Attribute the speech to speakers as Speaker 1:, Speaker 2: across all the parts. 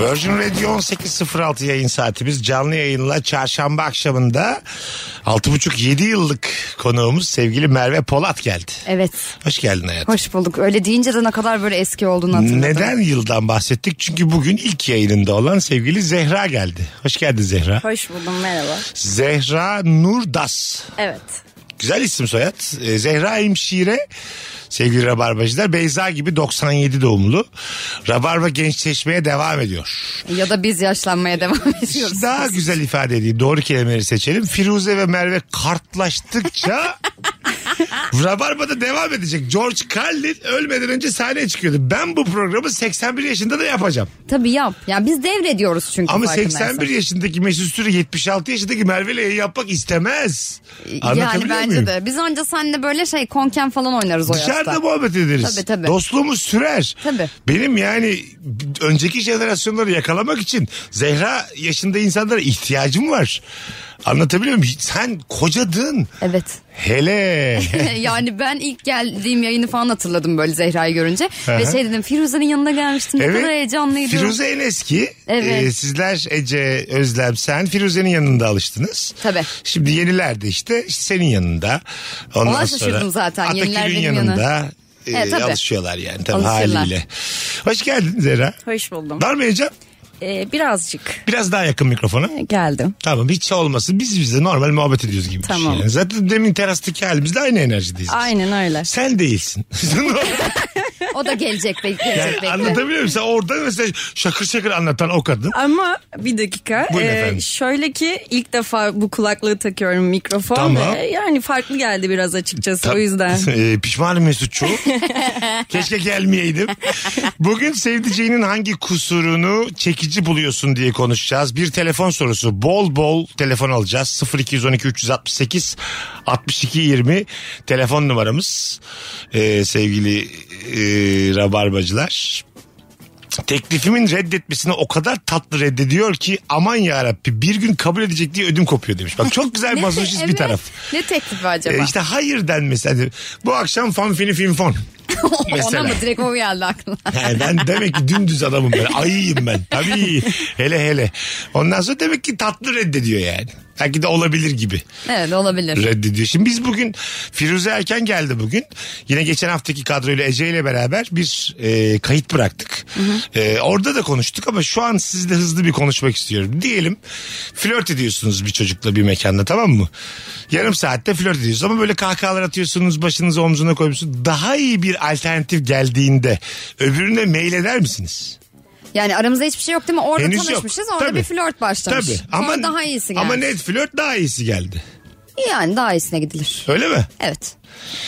Speaker 1: Virgin Radio 18.06 yayın saatimiz canlı yayınla çarşamba akşamında 6.5-7 yıllık konuğumuz sevgili Merve Polat geldi.
Speaker 2: Evet.
Speaker 1: Hoş geldin hayatım.
Speaker 2: Hoş bulduk. Öyle deyince de ne kadar böyle eski olduğunu hatırladım.
Speaker 1: Neden yıldan bahsettik? Çünkü bugün ilk yayınında olan sevgili Zehra geldi. Hoş geldin Zehra.
Speaker 2: Hoş buldum merhaba.
Speaker 1: Zehra Nurdas.
Speaker 2: Evet.
Speaker 1: Güzel isim soyad. Ee, Zehra Hemşire sevgili Rabarbacılar. Beyza gibi 97 doğumlu. Rabarba gençleşmeye devam ediyor.
Speaker 2: Ya da biz yaşlanmaya devam ediyoruz.
Speaker 1: Daha
Speaker 2: şey?
Speaker 1: güzel ifade edeyim. Doğru kelimeleri seçelim. Firuze ve Merve kartlaştıkça Rabarba'da devam edecek. George Carlin ölmeden önce sahneye çıkıyordu. Ben bu programı 81 yaşında da yapacağım.
Speaker 2: Tabii yap. Yani biz devrediyoruz çünkü
Speaker 1: Ama
Speaker 2: farkındaysan.
Speaker 1: 81 yaşındaki Mesut Süre 76 yaşındaki Merve ile yayın yapmak istemez.
Speaker 2: Yani
Speaker 1: Anlatabiliyor
Speaker 2: bence
Speaker 1: muyum?
Speaker 2: de. Biz anca seninle böyle şey konken falan oynarız o yaşta.
Speaker 1: Dışarıda muhabbet ederiz.
Speaker 2: Tabii, tabii.
Speaker 1: Dostluğumuz sürer.
Speaker 2: Tabii.
Speaker 1: Benim yani önceki jenerasyonları yakalamak için Zehra yaşında insanlara ihtiyacım var. Anlatabiliyor muyum? Sen kocadın.
Speaker 2: Evet.
Speaker 1: Hele.
Speaker 2: yani ben ilk geldiğim yayını falan hatırladım böyle Zehra'yı görünce.
Speaker 1: Aha.
Speaker 2: Ve şey dedim Firuze'nin yanına gelmiştim. Ne kadar heyecanlıydım.
Speaker 1: Firuze en eski.
Speaker 2: Evet.
Speaker 1: Ee, sizler Ece, Özlem, sen Firuze'nin yanında alıştınız.
Speaker 2: Tabii.
Speaker 1: Şimdi yeniler de işte, işte senin yanında. Ondan sonra
Speaker 2: Ona şaşırdım zaten. Yeniler
Speaker 1: Atakül'ün
Speaker 2: benim yanı.
Speaker 1: yanında. e,
Speaker 2: Evet, tabii.
Speaker 1: alışıyorlar yani tabii
Speaker 2: Alışırlar.
Speaker 1: haliyle. Hoş geldin Zehra.
Speaker 3: Hoş buldum.
Speaker 1: Var mı heyecan?
Speaker 3: Ee, birazcık
Speaker 1: Biraz daha yakın mikrofona.
Speaker 3: geldim.
Speaker 1: Tamam hiç olmasın. Biz bize normal muhabbet ediyoruz gibi bir
Speaker 3: Tamam.
Speaker 1: şey. yani. Zaten demin terastaki halimizde aynı enerjideyiz. biz.
Speaker 3: Aynen öyle.
Speaker 1: Sen değilsin.
Speaker 2: O da gelecek bek
Speaker 1: Yani
Speaker 2: gelecek bekle.
Speaker 1: anlatabiliyor muyum? Sen orada mesela şakır şakır anlatan o kadın.
Speaker 3: Ama bir dakika.
Speaker 1: Buyurun
Speaker 3: Ee,
Speaker 1: efendim.
Speaker 3: şöyle ki ilk defa bu kulaklığı takıyorum mikrofon.
Speaker 1: Tamam.
Speaker 3: ve yani farklı geldi biraz açıkçası o yüzden.
Speaker 1: Ee, pişmanım Mesutçu. Keşke gelmeyeydim. Bugün sevdiceğinin hangi kusurunu çekici buluyorsun diye konuşacağız. Bir telefon sorusu. Bol bol telefon alacağız. 0212 368 62 20 telefon numaramız. Ee, sevgili e, rabarbacılar. Teklifimin reddetmesini o kadar tatlı reddediyor ki aman yarabbi bir gün kabul edecek diye ödüm kopuyor demiş. Bak çok güzel mazoşist bir
Speaker 2: Evet.
Speaker 1: taraf.
Speaker 2: Ne teklifi acaba?
Speaker 1: E işte hayır denmesi. Hani bu akşam fan fini fin fon. mesela.
Speaker 2: Ona mı direkt o geldi aklına?
Speaker 1: Yani ben demek ki dümdüz adamım ben. Ayıyım ben. Tabii. Hele hele. Ondan sonra demek ki tatlı reddediyor yani. Belki de olabilir gibi
Speaker 2: Evet olabilir.
Speaker 1: reddediyor. Şimdi biz bugün Firuze Erken geldi bugün. Yine geçen haftaki kadroyla Ece ile beraber bir e, kayıt bıraktık. E, orada da konuştuk ama şu an sizle hızlı bir konuşmak istiyorum. Diyelim flört ediyorsunuz bir çocukla bir mekanda tamam mı? Yarım saatte flört ediyorsunuz ama böyle kahkahalar atıyorsunuz başınızı omzuna koymuşsunuz. Daha iyi bir alternatif geldiğinde öbürüne mail eder misiniz?
Speaker 2: Yani aramızda hiçbir şey yok değil mi? Orada
Speaker 1: Henüz yok.
Speaker 2: tanışmışız. Orada
Speaker 1: Tabii.
Speaker 2: bir flört başlamış.
Speaker 1: Tabii.
Speaker 2: Sonra daha iyisi geldi.
Speaker 1: Ama net flört daha iyisi geldi.
Speaker 2: Yani daha iyisine gidilir.
Speaker 1: Öyle mi?
Speaker 2: Evet.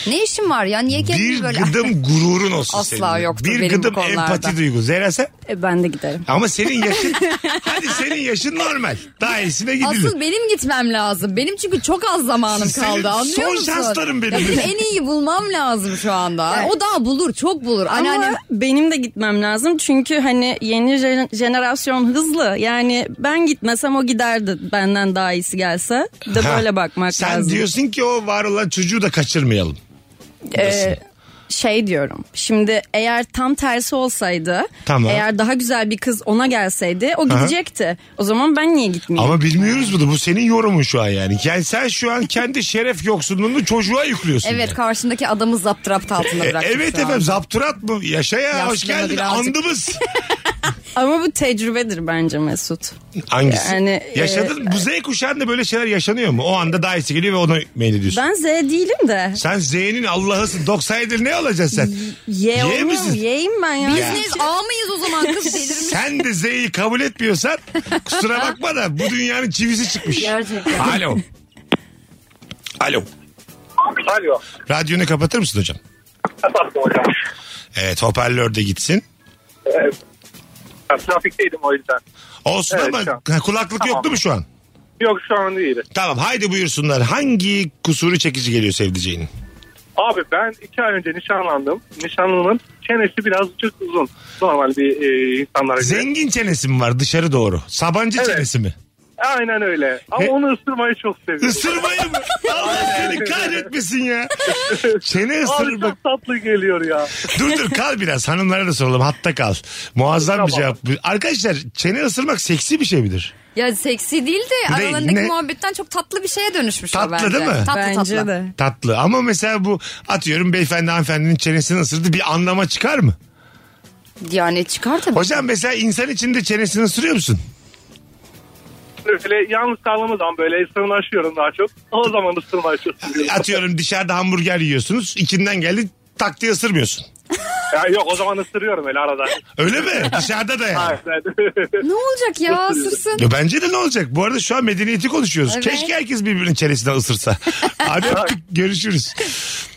Speaker 2: Ne işin var ya? Niye kendini
Speaker 1: bir
Speaker 2: böyle...
Speaker 1: gıdım gururun olsun
Speaker 2: Asla
Speaker 1: senin. de.
Speaker 2: yoktur
Speaker 1: Bir
Speaker 2: benim bu
Speaker 1: gıdım
Speaker 2: konularda.
Speaker 1: empati duygu. Zehra sen
Speaker 3: E, ben de giderim.
Speaker 1: ama senin yaşın hadi senin yaşın normal. Daha iyisine gidilir.
Speaker 2: Asıl benim gitmem lazım. Benim çünkü çok az zamanım
Speaker 1: Senin
Speaker 2: kaldı anlıyor
Speaker 1: son
Speaker 2: musun?
Speaker 1: şanslarım benim.
Speaker 2: Ya en iyi bulmam lazım şu anda. O daha bulur çok bulur.
Speaker 3: Ama
Speaker 2: Anneannem
Speaker 3: benim de gitmem lazım çünkü hani yeni jen- jenerasyon hızlı. Yani ben gitmesem o giderdi benden daha iyisi gelse. Bir De
Speaker 1: Ha.
Speaker 3: böyle bakmak
Speaker 1: Sen
Speaker 3: lazım.
Speaker 1: diyorsun ki o var olan çocuğu da kaçırmayalım. diyorsun.
Speaker 3: şey diyorum. Şimdi eğer tam tersi olsaydı,
Speaker 1: Tamam.
Speaker 3: eğer daha güzel bir kız ona gelseydi o
Speaker 1: Aha.
Speaker 3: gidecekti. O zaman ben niye gitmeyeyim?
Speaker 1: Ama bilmiyoruz bunu. Bu senin yorumun şu an yani. Yani sen şu an kendi şeref yoksunluğunu çocuğa yüklüyorsun.
Speaker 2: evet
Speaker 1: yani.
Speaker 2: karşındaki adamı zaptırapt altında
Speaker 1: E,
Speaker 2: bıraktı.
Speaker 1: evet efendim zapturat mı? Yaşa ya hoş
Speaker 2: Yaşlama
Speaker 1: geldin
Speaker 2: birazcık.
Speaker 1: andımız.
Speaker 3: Ama bu tecrübedir bence Mesut.
Speaker 1: Hangisi?
Speaker 3: Yani,
Speaker 2: e,
Speaker 1: Yaşadın bu Z kuşağında böyle şeyler yaşanıyor mu? O anda daha iyisi geliyor ve ona mail ediyorsun.
Speaker 3: Ben Z değilim de.
Speaker 1: Sen Z'nin Allah'ısın 97 ne olacaksın sen?
Speaker 3: Y
Speaker 1: Y
Speaker 3: olmuyor mu?
Speaker 1: misin?
Speaker 3: Y'yim ben ya.
Speaker 2: Biz neyiz? Ağ mıyız o zaman kız delirmiş.
Speaker 1: Sen de Z'yi kabul etmiyorsan kusura bakma da bu dünyanın çivisi çıkmış.
Speaker 2: Gerçekten.
Speaker 1: Alo. Alo.
Speaker 4: Alo.
Speaker 1: Radyonu kapatır mısın hocam?
Speaker 4: Kapattım hocam.
Speaker 1: Evet hoparlör de gitsin.
Speaker 4: Ee, ben trafikteydim o yüzden.
Speaker 1: Olsun
Speaker 4: Evet,
Speaker 1: ama
Speaker 4: tamam.
Speaker 1: ha, kulaklık
Speaker 4: Tamam.
Speaker 1: yoktu mu şu an?
Speaker 4: Yok şu an değil.
Speaker 1: Tamam haydi buyursunlar. Hangi kusuru çekici geliyor sevdiceğinin?
Speaker 4: Abi ben iki ay önce nişanlandım. Nişanlımın çenesi birazcık uzun. Normal bir e, insanlara göre.
Speaker 1: Zengin çenesi mi var dışarı doğru? Sabancı
Speaker 4: Evet.
Speaker 1: çenesi mi?
Speaker 4: Aynen öyle. Ama
Speaker 1: Ne?
Speaker 4: onu ısırmayı çok seviyorum.
Speaker 1: Isırmayı mı? Allah seni kahretmesin ya. Çene
Speaker 4: Abi
Speaker 1: ısırır bak.
Speaker 4: çok tatlı geliyor ya.
Speaker 1: Dur dur kal biraz hanımlara da soralım hatta kal. Muazzam bir
Speaker 4: Tamam.
Speaker 1: cevap. Arkadaşlar çene ısırmak seksi bir şey midir?
Speaker 2: Ya seksi değil de
Speaker 1: Değil,
Speaker 2: aralarındaki
Speaker 1: ne?
Speaker 2: muhabbetten çok tatlı bir şeye dönüşmüş
Speaker 1: Tatlı
Speaker 2: o bence.
Speaker 1: değil mi?
Speaker 2: Tatlı
Speaker 3: Bence
Speaker 2: tatlı.
Speaker 3: de.
Speaker 1: Tatlı ama mesela bu atıyorum beyefendi hanımefendinin çenesini ısırdı bir anlama çıkar mı?
Speaker 2: Yani çıkar tabii.
Speaker 1: Hocam mesela insan içinde çenesini ısırıyor musun?
Speaker 4: Böyle yalnız kaldığım zaman böyle ısırmaşıyorum daha çok. O zaman ısırmayı çok seviyorum.
Speaker 1: Atıyorum dışarıda hamburger yiyorsunuz içinden geldi tak diye ısırmıyorsun.
Speaker 4: Ya yok o zaman ısırıyorum öyle arada.
Speaker 1: Öyle mi? Dışarıda da yani.
Speaker 4: Aynen.
Speaker 2: Ne olacak ya sırsın.
Speaker 1: Ya bence de ne olacak? Bu arada şu an medeniyeti konuşuyoruz.
Speaker 2: Evet.
Speaker 1: Keşke herkes birbirinin çenesinden ısırsa. Hadi öptük, görüşürüz.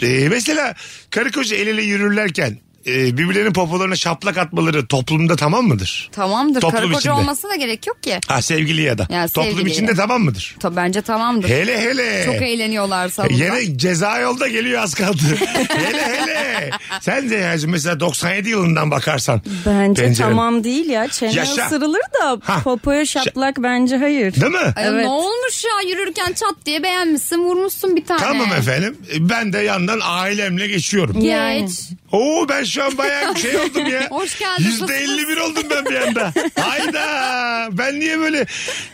Speaker 1: Ee, mesela karı koca el ele yürürlerken e, birbirlerinin popolarına şaplak atmaları toplumda tamam mıdır?
Speaker 2: Tamamdır.
Speaker 1: Toplum
Speaker 2: Karı koca
Speaker 1: içinde.
Speaker 2: olması da gerek yok ki.
Speaker 1: Ha sevgili ya da.
Speaker 2: Ya,
Speaker 1: Toplum
Speaker 2: sevgili
Speaker 1: içinde
Speaker 2: ya.
Speaker 1: tamam mıdır?
Speaker 2: Ta, bence tamamdır.
Speaker 1: Hele hele. E,
Speaker 2: Çok eğleniyorlar salonda.
Speaker 1: Yine ceza yolda geliyor az kaldı. hele hele. Sen de yani mesela 97 yılından bakarsan.
Speaker 3: Bence
Speaker 1: Pencere-
Speaker 3: tamam değil ya. Çene
Speaker 1: Yaşa.
Speaker 3: ısırılır da
Speaker 1: Ha.
Speaker 3: popoya şaplak bence hayır.
Speaker 1: Değil mi?
Speaker 2: Ay,
Speaker 3: Evet.
Speaker 2: Ne olmuş ya yürürken çat diye beğenmişsin vurmuşsun bir tane.
Speaker 1: Tamam efendim. E, Ben de yandan ailemle geçiyorum.
Speaker 2: Yani.
Speaker 1: Oo ben şu an bayağı bir şey oldum ya.
Speaker 2: Hoş geldin
Speaker 1: Yüzde elli bir oldum ben bir anda. Hayda. Ben niye böyle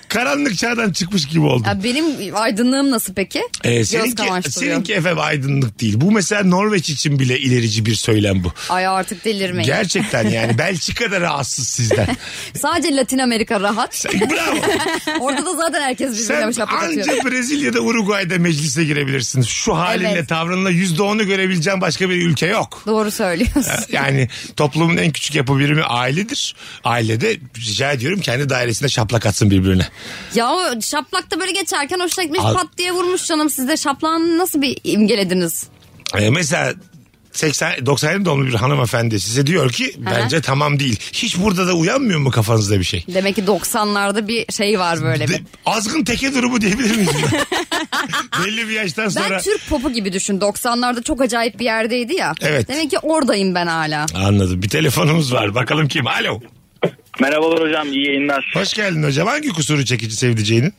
Speaker 1: karanlık çağdan çıkmış gibi oldum?
Speaker 2: Ya benim aydınlığım nasıl peki?
Speaker 1: Ee,
Speaker 2: Göz
Speaker 1: seninki,
Speaker 2: kamaştırıyor.
Speaker 1: seninki efendim aydınlık değil. Bu mesela Norveç için bile ilerici bir söylem bu.
Speaker 2: Ay artık delirmeyin.
Speaker 1: Gerçekten yani Belçika'da rahatsız sizden.
Speaker 2: Sadece Latin Amerika rahat.
Speaker 1: Sen- Bravo.
Speaker 2: Orada da zaten herkes birbirine
Speaker 1: Sen
Speaker 2: şapka atıyor.
Speaker 1: anca Brezilya'da Uruguay'da meclise girebilirsin. Şu halinle
Speaker 2: Evet.
Speaker 1: tavrınla yüzde onu görebileceğin başka bir ülke yok.
Speaker 2: Doğru söylüyorsun.
Speaker 1: Yani toplumun en küçük yapı birimi ailedir. Ailede rica ediyorum kendi dairesinde şaplak atsın birbirine.
Speaker 2: ya o şaplakta böyle geçerken hoşuna gitmiş
Speaker 1: Al-
Speaker 2: pat diye vurmuş canım. Siz de şaplağını nasıl bir imgelediniz?
Speaker 1: Ee, mesela 80, 97 doğumlu bir hanımefendi size diyor ki bence tamam değil. Hiç burada da uyanmıyor mu kafanızda bir şey?
Speaker 2: Demek ki 90'larda bir şey var böyle
Speaker 1: De-
Speaker 2: bir.
Speaker 1: azgın teke durumu diyebilir miyiz? buna? Belli bir yaştan
Speaker 2: Ben
Speaker 1: sonra.
Speaker 2: Türk popu gibi düşün. 90'larda çok acayip bir yerdeydi ya.
Speaker 1: Evet.
Speaker 2: Demek ki oradayım ben hala.
Speaker 1: Anladım. Bir telefonumuz var. Bakalım kim? Alo.
Speaker 5: Merhabalar hocam iyi yayınlar.
Speaker 1: Hoş geldin hocam. Hangi kusuru çekici sevdiceğinin?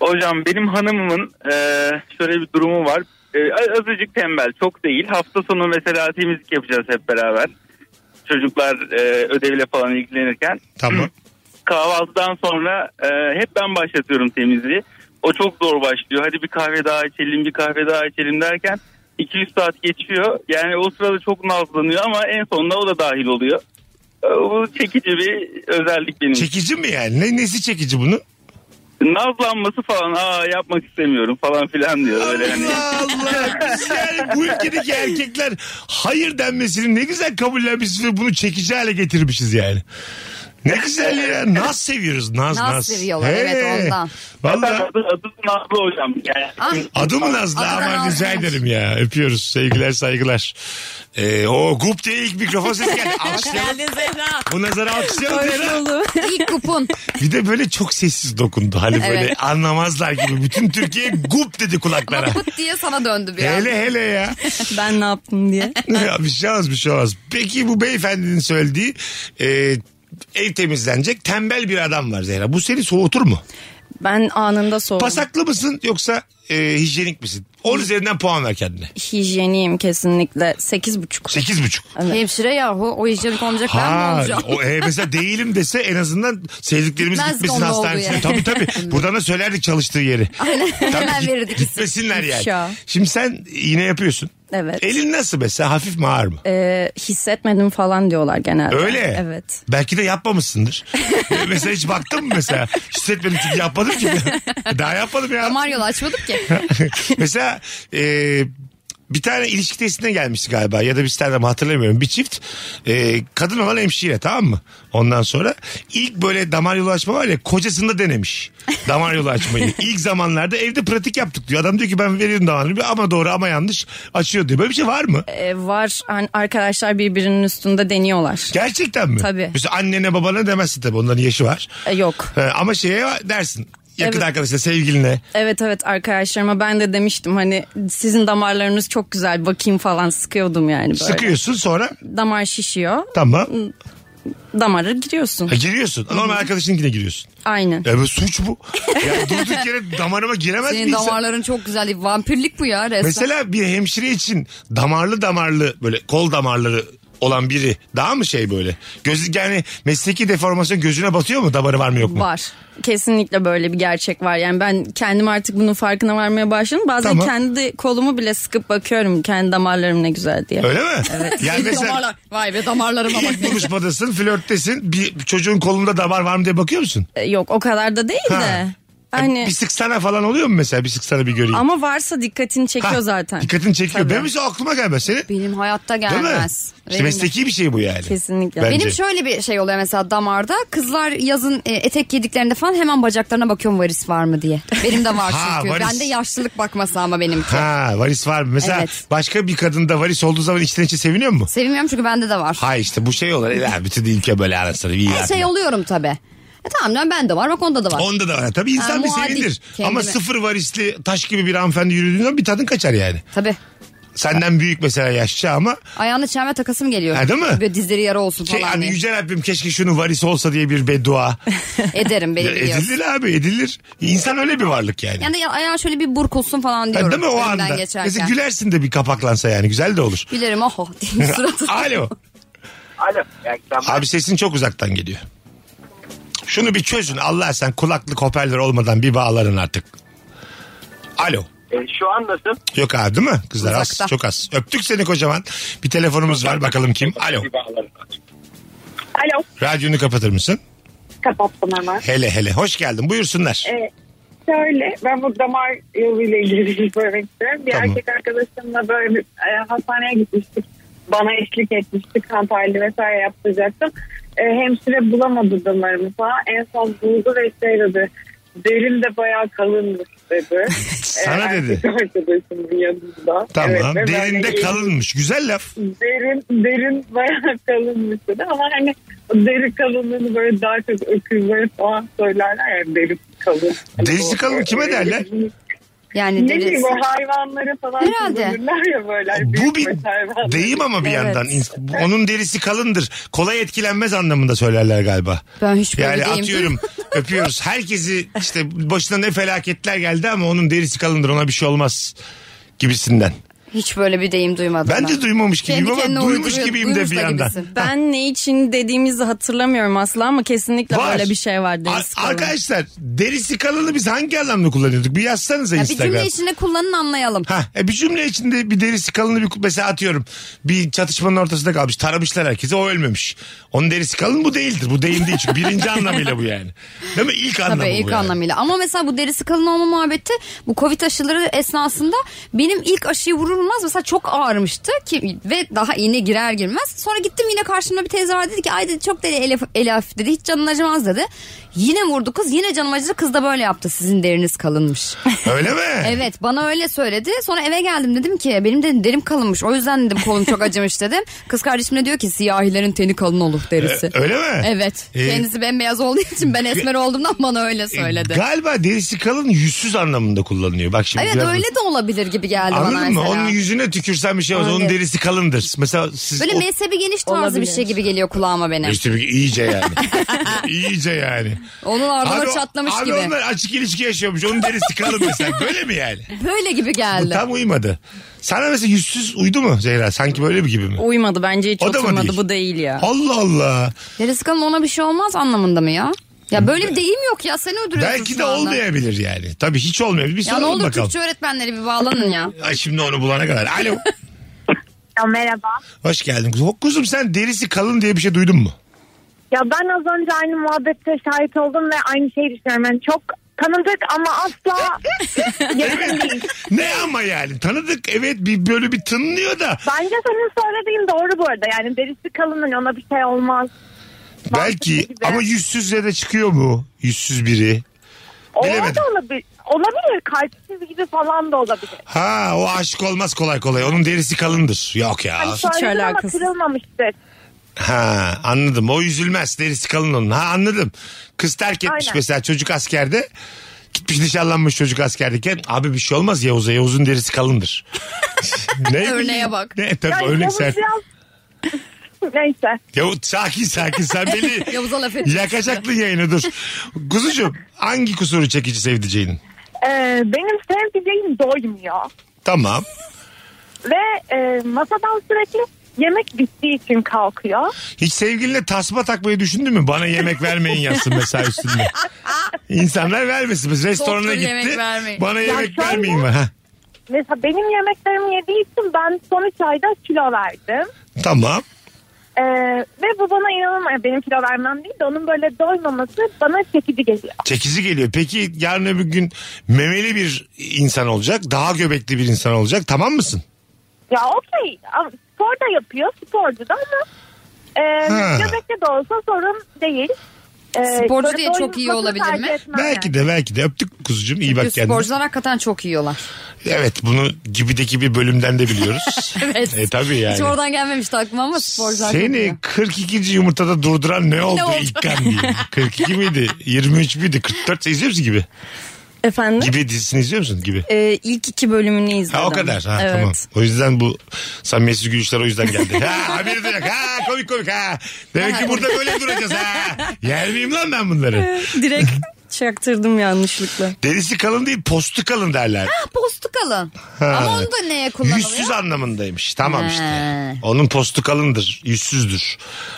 Speaker 5: Hocam benim hanımımın e, şöyle bir durumu var. E, azıcık tembel çok değil. Hafta sonu mesela temizlik yapacağız hep beraber. Çocuklar e, ödevle falan ilgilenirken.
Speaker 1: Tamam.
Speaker 5: Kahvaltıdan sonra e, hep ben başlatıyorum temizliği. O çok zor başlıyor. Hadi bir kahve daha içelim bir kahve daha içelim derken 200 saat geçiyor. Yani o sırada çok nazlanıyor ama en sonunda o da dahil oluyor. E, Bu çekici bir özellik benim için.
Speaker 1: Çekici mi yani? Ne, nesi çekici bunun?
Speaker 5: nazlanması falan aa yapmak istemiyorum falan filan diyor öyle hani.
Speaker 1: Allah Allah. Biz yani bu ülkedeki erkekler hayır denmesini ne güzel kabullenmişiz ve bunu çekici hale getirmişiz yani. Ne güzel ya. Naz seviyoruz. Naz naz.
Speaker 2: Naz seviyorlar, evet, ondan.
Speaker 5: Zaten
Speaker 1: Valla
Speaker 5: adı, adı Nazlı hocam. Yani
Speaker 2: Ah,
Speaker 1: adı mı Nazlı
Speaker 2: Adı da
Speaker 1: ama
Speaker 2: Nazlı.
Speaker 1: rica ederim ya. Öpüyoruz. Sevgiler saygılar. Ee, o gup diye ilk mikrofon sesi geldi. Alkışlayalım.
Speaker 3: Zehra.
Speaker 1: Bu nazara alkışlayalım.
Speaker 3: Hoş
Speaker 1: Zehra.
Speaker 3: bulduk.
Speaker 2: İlk kupon.
Speaker 1: Bir de böyle çok sessiz dokundu. Hani böyle
Speaker 2: Evet.
Speaker 1: anlamazlar gibi. Bütün Türkiye gup dedi kulaklara.
Speaker 2: Pıt diye sana döndü bir an.
Speaker 1: hele hele ya.
Speaker 3: Ben ne yaptım diye.
Speaker 1: Ya bir şey olmaz bir şey olmaz. Peki bu beyefendinin söylediği e, ev temizlenecek tembel bir adam var Zehra. Bu seni soğutur mu?
Speaker 3: Ben anında soğudum.
Speaker 1: Pasaklı mısın yoksa e, hijyenik misin? 10 üzerinden puan ver kendine.
Speaker 3: Hijyeniyim kesinlikle. Sekiz buçuk.
Speaker 1: 8,5.
Speaker 2: Hemşire yahu o hijyenik olmayacak ben mi
Speaker 1: Ha,
Speaker 2: olacağım?
Speaker 1: o, e, mesela değilim dese en azından sevdiklerimiz
Speaker 2: Gitmez
Speaker 1: gitmesin
Speaker 2: onun olduğu
Speaker 1: hastanesine.
Speaker 2: yere.
Speaker 1: Tabii tabii. Buradan da söylerdik çalıştığı yeri.
Speaker 2: Aynen hemen
Speaker 1: git-
Speaker 2: verirdik.
Speaker 1: Gitmesinler
Speaker 3: İfşa.
Speaker 1: yani. Şimdi sen iğne yapıyorsun.
Speaker 3: Evet.
Speaker 1: Elin nasıl mesela hafif mi ağır mı?
Speaker 3: Ee, hissetmedim falan diyorlar genelde.
Speaker 1: Öyle.
Speaker 3: Evet.
Speaker 1: Belki de yapmamışsındır. mesela hiç baktın mı mesela? Hissetmedim çünkü yapmadım ki. Daha yapmadım ya.
Speaker 2: Damar yolu açmadık ki.
Speaker 1: mesela e, bir tane ilişki testine gelmişti galiba ya da bir tane mi hatırlamıyorum. Bir çift e, kadın olan hemşire tamam mı? Ondan sonra ilk böyle damar yolu açma var ya kocasında denemiş. Damar yolu açmayı. ilk zamanlarda evde pratik yaptık diyor. Adam diyor ki ben veriyorum damar yolu ama doğru ama yanlış açıyor diyor. Böyle bir şey var mı?
Speaker 3: Ee, var hani arkadaşlar birbirinin üstünde deniyorlar.
Speaker 1: Gerçekten mi?
Speaker 3: Tabii.
Speaker 1: Mesela annene babana demezsin tabii onların yaşı var.
Speaker 3: Ee, yok.
Speaker 1: He, ama şeye dersin. yakın
Speaker 3: Evet.
Speaker 1: arkadaşla sevgiline.
Speaker 3: Evet evet arkadaşlarıma ben de demiştim hani sizin damarlarınız çok güzel bakayım falan sıkıyordum yani böyle.
Speaker 1: Sıkıyorsun sonra
Speaker 3: Damar şişiyor.
Speaker 1: tamam
Speaker 3: Damara giriyorsun.
Speaker 1: ha, giriyorsun. Normal arkadaşınkine giriyorsun.
Speaker 3: Aynen.
Speaker 1: Ya bu suç bu. Ya durduk yere damarıma giremez mi
Speaker 2: Senin
Speaker 1: insan?
Speaker 2: damarların çok güzel. Vampirlik bu ya resmen.
Speaker 1: Mesela bir hemşire için damarlı damarlı böyle kol damarları olan biri daha mı şey böyle? Göz, yani mesleki deformasyon gözüne batıyor mu damarı var mı yok mu?
Speaker 3: Var. Kesinlikle böyle bir gerçek var. Yani ben kendim artık bunun farkına varmaya başladım. Bazen
Speaker 1: Tamam.
Speaker 3: kendi kolumu bile sıkıp bakıyorum kendi damarlarım ne güzel diye.
Speaker 1: Öyle mi? Yani mesela
Speaker 2: Damarlar. Vay be damarlarıma bak.
Speaker 1: ilk buluşmadasın flörttesin bir çocuğun kolunda damar var mı diye bakıyor musun?
Speaker 3: Ee, Yok o kadar da değil
Speaker 1: Ha.
Speaker 3: de.
Speaker 1: Ya
Speaker 3: Hani
Speaker 1: bir sıksana falan oluyor mu mesela bir sıksana bir göreyim?
Speaker 3: ama varsa dikkatini
Speaker 1: Ha,
Speaker 3: çekiyor zaten.
Speaker 1: Dikkatini çekiyor.
Speaker 3: Tabii.
Speaker 1: Benim mesela aklıma gelmez. Senin
Speaker 2: Benim hayatta
Speaker 1: Değil mi?
Speaker 2: gelmez.
Speaker 1: İşte
Speaker 2: Benim de.
Speaker 1: mesleki bir şey bu yani.
Speaker 3: Kesinlikle.
Speaker 1: Bence.
Speaker 2: Benim şöyle bir şey oluyor mesela damarda. Kızlar yazın e, etek giydiklerinde falan hemen bacaklarına bakıyorum varis var mı diye. Benim de var
Speaker 1: Ha,
Speaker 2: çünkü.
Speaker 1: varis.
Speaker 2: Bende yaşlılık bakması ama benimki.
Speaker 1: Ha varis var mı? Mesela
Speaker 2: Evet.
Speaker 1: başka bir kadında varis olduğu zaman içten içe seviniyor mu?
Speaker 2: Sevmiyorum çünkü bende de var.
Speaker 1: Hay işte bu şey olur. Ya, bütün ülke böyle arasını. Bir
Speaker 2: Her şey oluyorum tabii. E, tamam lan bende var bak onda da var.
Speaker 1: Onda da var. Tabii insan
Speaker 2: Ha,
Speaker 1: bir
Speaker 2: muadil.
Speaker 1: sevinir.
Speaker 2: Kendime.
Speaker 1: Ama sıfır varisli taş gibi bir hanımefendi yürüdüğün zaman bir tadın kaçar yani.
Speaker 2: Tabii.
Speaker 1: Senden büyük mesela yaşça ama
Speaker 2: Ayağını çelme takasım geliyor.
Speaker 1: Ha, değil mi?
Speaker 2: Böyle dizleri yara olsun
Speaker 1: şey,
Speaker 2: falan
Speaker 1: hani
Speaker 2: diye.
Speaker 1: Yüce Rabbim keşke şunun varisi olsa diye bir beddua.
Speaker 2: Ederim
Speaker 1: e,
Speaker 2: beni biliyorsun.
Speaker 1: edilir abi edilir. İnsan öyle bir varlık yani.
Speaker 2: Yani ya- ayağı şöyle bir burkulsun falan
Speaker 1: Ha,
Speaker 2: diyorum.
Speaker 1: değil mi o
Speaker 2: önümden
Speaker 1: anda?
Speaker 2: Geçerken.
Speaker 1: Mesela gülersin de bir kapaklansa yani güzel de olur.
Speaker 2: Gülerim oho diye suratı.
Speaker 1: Alo.
Speaker 4: Alo. iyi akşamlar.
Speaker 1: Abi sesin çok uzaktan geliyor. Şunu bir çözün Allah sen kulaklık hoparlör olmadan bir bağların artık. Alo.
Speaker 4: E, şu an nasıl?
Speaker 1: Yok abi değil mi? Kızlar
Speaker 2: Uzakta.
Speaker 1: az çok az. Öptük seni kocaman. Bir telefonumuz var bakalım kim? Alo.
Speaker 6: Alo.
Speaker 1: Radyonu kapatır mısın?
Speaker 6: Kapattım hemen.
Speaker 1: Hele hele. Hoş geldin buyursunlar.
Speaker 6: Ee, şöyle ben bu damar yoluyla ilgili bir şey söylemek istiyorum. Bir
Speaker 1: Tamam.
Speaker 6: erkek arkadaşımla böyle bir, e, hastaneye gitmiştik. Bana eşlik etmiştik. Kan tahlili vesaire yaptıracaktım. E, hemşire bulamadı damarımı falan. En son buldu ve şey dedi. Derim de bayağı kalınmış dedi.
Speaker 1: Sana
Speaker 6: Ee,
Speaker 1: dedi.
Speaker 6: erkek Arkadaşımın yanında.
Speaker 1: Tamam.
Speaker 6: ve ben de
Speaker 1: Derinde
Speaker 6: eğildim.
Speaker 1: kalınmış. Güzel laf.
Speaker 6: derin derin bayağı kalınmış dedi ama hani o deri kalınlığını böyle daha çok öküzler falan söylerler ya deri kalın. Hani
Speaker 1: Derisi
Speaker 6: o-
Speaker 1: kalın kime derler?
Speaker 2: Yani
Speaker 6: Ne
Speaker 2: deriz.
Speaker 6: bileyim o hayvanlara falan
Speaker 2: Herhalde.
Speaker 6: kullanırlar ya böyle.
Speaker 1: Bu
Speaker 6: büyükbaş
Speaker 1: bir
Speaker 6: hayvanları.
Speaker 1: deyim ama bir
Speaker 2: Evet.
Speaker 1: yandan. İns- Onun derisi kalındır. Kolay etkilenmez anlamında söylerler galiba.
Speaker 2: Ben hiç böyle
Speaker 1: Yani
Speaker 2: değilim.
Speaker 1: atıyorum öpüyoruz. Herkesi işte başına ne felaketler geldi ama onun derisi kalındır ona bir şey olmaz gibisinden.
Speaker 2: Hiç böyle bir deyim duymadım
Speaker 1: Ben de duymamış gibiyim
Speaker 2: Kendi
Speaker 1: ama
Speaker 2: kendine
Speaker 1: duymuş
Speaker 2: uyduruyor-
Speaker 1: gibiyim de
Speaker 2: duymuş
Speaker 1: bir
Speaker 2: da
Speaker 1: yandan.
Speaker 2: gibisin.
Speaker 3: Ben ne için dediğimizi hatırlamıyorum asla ama kesinlikle
Speaker 1: Var.
Speaker 3: böyle bir şey var.
Speaker 1: Ar-
Speaker 3: deniz kalın.
Speaker 1: arkadaşlar derisi kalını biz hangi anlamda kullanıyorduk? Bir yazsanıza
Speaker 2: Ya bir
Speaker 1: Instagram.
Speaker 2: cümle içinde kullanın anlayalım.
Speaker 1: Ha, e bir cümle içinde bir derisi kalını bir mesela atıyorum. Bir çatışmanın ortasında kalmış. Taramışlar herkese o ölmemiş. Onun derisi kalın bu değildir. Bu deyim değil çünkü birinci anlamıyla bu yani. Değil mi? İlk anlamı
Speaker 2: Tabii
Speaker 1: bu
Speaker 2: ilk
Speaker 1: yani.
Speaker 2: anlamıyla. Ama mesela bu derisi kalın olma muhabbeti bu Covid aşıları esnasında benim ilk aşıyı vurur vurmaz mesela çok ağrımıştı ki ve daha iğne girer girmez. Sonra gittim yine karşımda bir teyze var dedi ki ay dedi çok deli elif, elaf dedi hiç canın acımaz dedi. Yine vurdu kız yine canım acıdı kız da böyle yaptı sizin deriniz kalınmış.
Speaker 1: Öyle mi?
Speaker 2: evet bana öyle söyledi sonra eve geldim dedim ki benim dedim derim kalınmış o yüzden dedim kolum çok acımış dedim. Kız kardeşim de diyor ki siyahilerin teni kalın olur derisi.
Speaker 1: Öyle mi?
Speaker 2: Evet.
Speaker 1: Ee,
Speaker 2: Kendisi bembeyaz olduğu için ben esmer olduğumdan bana
Speaker 1: E,
Speaker 2: öyle söyledi.
Speaker 1: Galiba derisi kalın yüzsüz anlamında kullanılıyor. Bak şimdi
Speaker 2: Evet
Speaker 1: biraz-
Speaker 2: öyle de olabilir gibi geldi bana
Speaker 1: Anladın mı?
Speaker 2: mesela.
Speaker 1: Onun yüzüne tükürsen bir şey olmaz. Onun
Speaker 2: Olabilir.
Speaker 1: derisi kalındır. Mesela siz
Speaker 2: Böyle
Speaker 1: o- E,
Speaker 2: mezhebi geniş tarzı bir şey gibi geliyor kulağıma benim.
Speaker 1: İşte bir, iyice yani. iyice yani.
Speaker 2: Onun
Speaker 1: Abi
Speaker 2: ardına
Speaker 1: o-
Speaker 2: çatlamış
Speaker 1: abi
Speaker 2: gibi.
Speaker 1: onlar açık ilişki yaşıyormuş. Onun derisi kalın mesela. Böyle mi yani?
Speaker 2: Böyle gibi
Speaker 1: Bu
Speaker 2: geldi.
Speaker 1: tam uymadı. Sana mesela yüzsüz uydu mu Zehra? Sanki böyle mi gibi mi?
Speaker 3: Uymadı bence hiç
Speaker 1: O da mı
Speaker 3: oturmadı
Speaker 1: değil?
Speaker 3: bu değil ya.
Speaker 1: Allah Allah.
Speaker 2: Derisi kalın ona bir şey olmaz anlamında mı ya? Ya böyle bir deyim yok ya seni öldürüyorsun
Speaker 1: Belki
Speaker 2: şu
Speaker 1: de
Speaker 2: anda.
Speaker 1: olmayabilir yani. Tabii hiç olmayabilir. Bir
Speaker 2: Ya ne
Speaker 1: soralım
Speaker 2: olur
Speaker 1: bakalım.
Speaker 2: Türkçe öğretmenleri bir bağlanın ya.
Speaker 1: Ay şimdi onu bulana kadar. Alo.
Speaker 6: Ya merhaba.
Speaker 1: Hoş geldin. kuzum. Kuzum sen derisi kalın diye bir şey duydun mu?
Speaker 6: Ya ben az önce aynı muhabbette şahit oldum ve aynı şeyi düşünüyorum. Yani çok tanıdık ama asla yakın değil.
Speaker 1: Ne ama yani tanıdık evet bir böyle bir tınlıyor da
Speaker 6: Bence senin söylediğin doğru bu arada. Yani derisi kalının ona bir şey olmaz.
Speaker 1: belki
Speaker 6: gibi.
Speaker 1: ama yüzsüzle de çıkıyor mu? Yüzsüz biri.
Speaker 6: O
Speaker 1: Bilemedim.
Speaker 6: da olabilir. Olabilir. Kalpsiz gibi falan da olabilir.
Speaker 1: Ha o aşık olmaz kolay kolay onun derisi kalındır. Yok ya.
Speaker 6: Hani söyledin ama
Speaker 3: alakasız.
Speaker 6: kırılmamıştır.
Speaker 1: Ha anladım o üzülmez derisi kalın onun. Ha anladım. Kız terk etmiş
Speaker 6: Aynen.
Speaker 1: mesela çocuk askerde. Gitmiş nişanlanmış çocuk askerdeyken. Abi bir şey olmaz Yavuz'a. Yavuz'un derisi kalındır. ne bileyim?
Speaker 2: Örneğe bak.
Speaker 1: Ne, tabii
Speaker 6: Yani
Speaker 1: örnek
Speaker 6: Yavuz
Speaker 1: sen.
Speaker 6: biraz- Neyse.
Speaker 1: Yavuz sakin sakin sen beni
Speaker 2: Yavuz'a laf etmiş.
Speaker 1: yakacaktın yayını dur. Kuzucuğum hangi kusuru çekici sevdiceğinin?
Speaker 6: Ee, benim sevdiceğim doymuyor.
Speaker 1: Tamam.
Speaker 6: Ve e, masadan sürekli yemek bittiği için kalkıyor.
Speaker 1: Hiç sevgiline tasma takmayı düşündün mü? Bana yemek vermeyin yazsın mesela üstünde. İnsanlar vermesin. Biz restorana
Speaker 2: Softur
Speaker 1: gitti.
Speaker 2: yemek vermeyin.
Speaker 1: Bana
Speaker 6: Ya
Speaker 1: yemek
Speaker 6: şöyle-
Speaker 1: vermeyin var. Ha.
Speaker 6: Mesela benim yemeklerimi yediği için ben son 3 ayda kilo verdim.
Speaker 1: Tamam.
Speaker 6: Ee, ve bu bana inanılmaz. Benim kilo vermem değil de onun böyle doymaması bana çekici geliyor.
Speaker 1: Çekici geliyor. Peki yarın öbür gün memeli bir insan olacak. Daha göbekli bir insan olacak. Tamam mısın?
Speaker 6: Ya okey. Ama Spor da yapıyor. Sporcu da ama e,
Speaker 1: Ha.
Speaker 6: göbekte de olsa sorun değil. E,
Speaker 2: Sporcu
Speaker 6: böyle
Speaker 2: diye çok iyi
Speaker 6: doymasını
Speaker 2: olabilir
Speaker 6: tercih
Speaker 2: mi?
Speaker 6: etmem
Speaker 1: belki de belki de öptük kuzucuğum. iyi bak
Speaker 2: Çünkü
Speaker 1: kendine.
Speaker 2: sporcular hakikaten çok yiyorlar.
Speaker 1: Evet bunu gibideki bir bölümden de biliyoruz.
Speaker 2: Evet.
Speaker 1: E tabii yani.
Speaker 2: Hiç oradan gelmemişti aklıma ama sporcular çok
Speaker 1: Seni
Speaker 2: yiyor.
Speaker 1: 42. yumurtada durduran ne oldu,
Speaker 2: oldu?
Speaker 1: İlkan diye. 42 miydi? 23 müydü? 44 izliyor musun gibi?
Speaker 3: Efendim?
Speaker 1: Gibi dizisini izliyor musun gibi?
Speaker 3: Ee, ilk iki bölümünü izledim.
Speaker 1: Ha o kadar. Ha
Speaker 3: evet.
Speaker 1: tamam. O yüzden bu samimiyetsiz gülüşler o yüzden geldi. Ha haberi de yok. Ha komik komik ha. Demek ki burada böyle duracağız ha. Yer miyim lan ben bunları?
Speaker 3: Direkt çaktırdım yanlışlıkla.
Speaker 1: Derisi kalın değil postu kalın derler.
Speaker 2: Ha, postu kalın.
Speaker 1: Ha.
Speaker 2: Ama onu da neye kullanılıyor?
Speaker 1: Yüzsüz anlamındaymış. Tamam işte.
Speaker 2: He.
Speaker 1: Onun postu kalındır, yüzsüzdür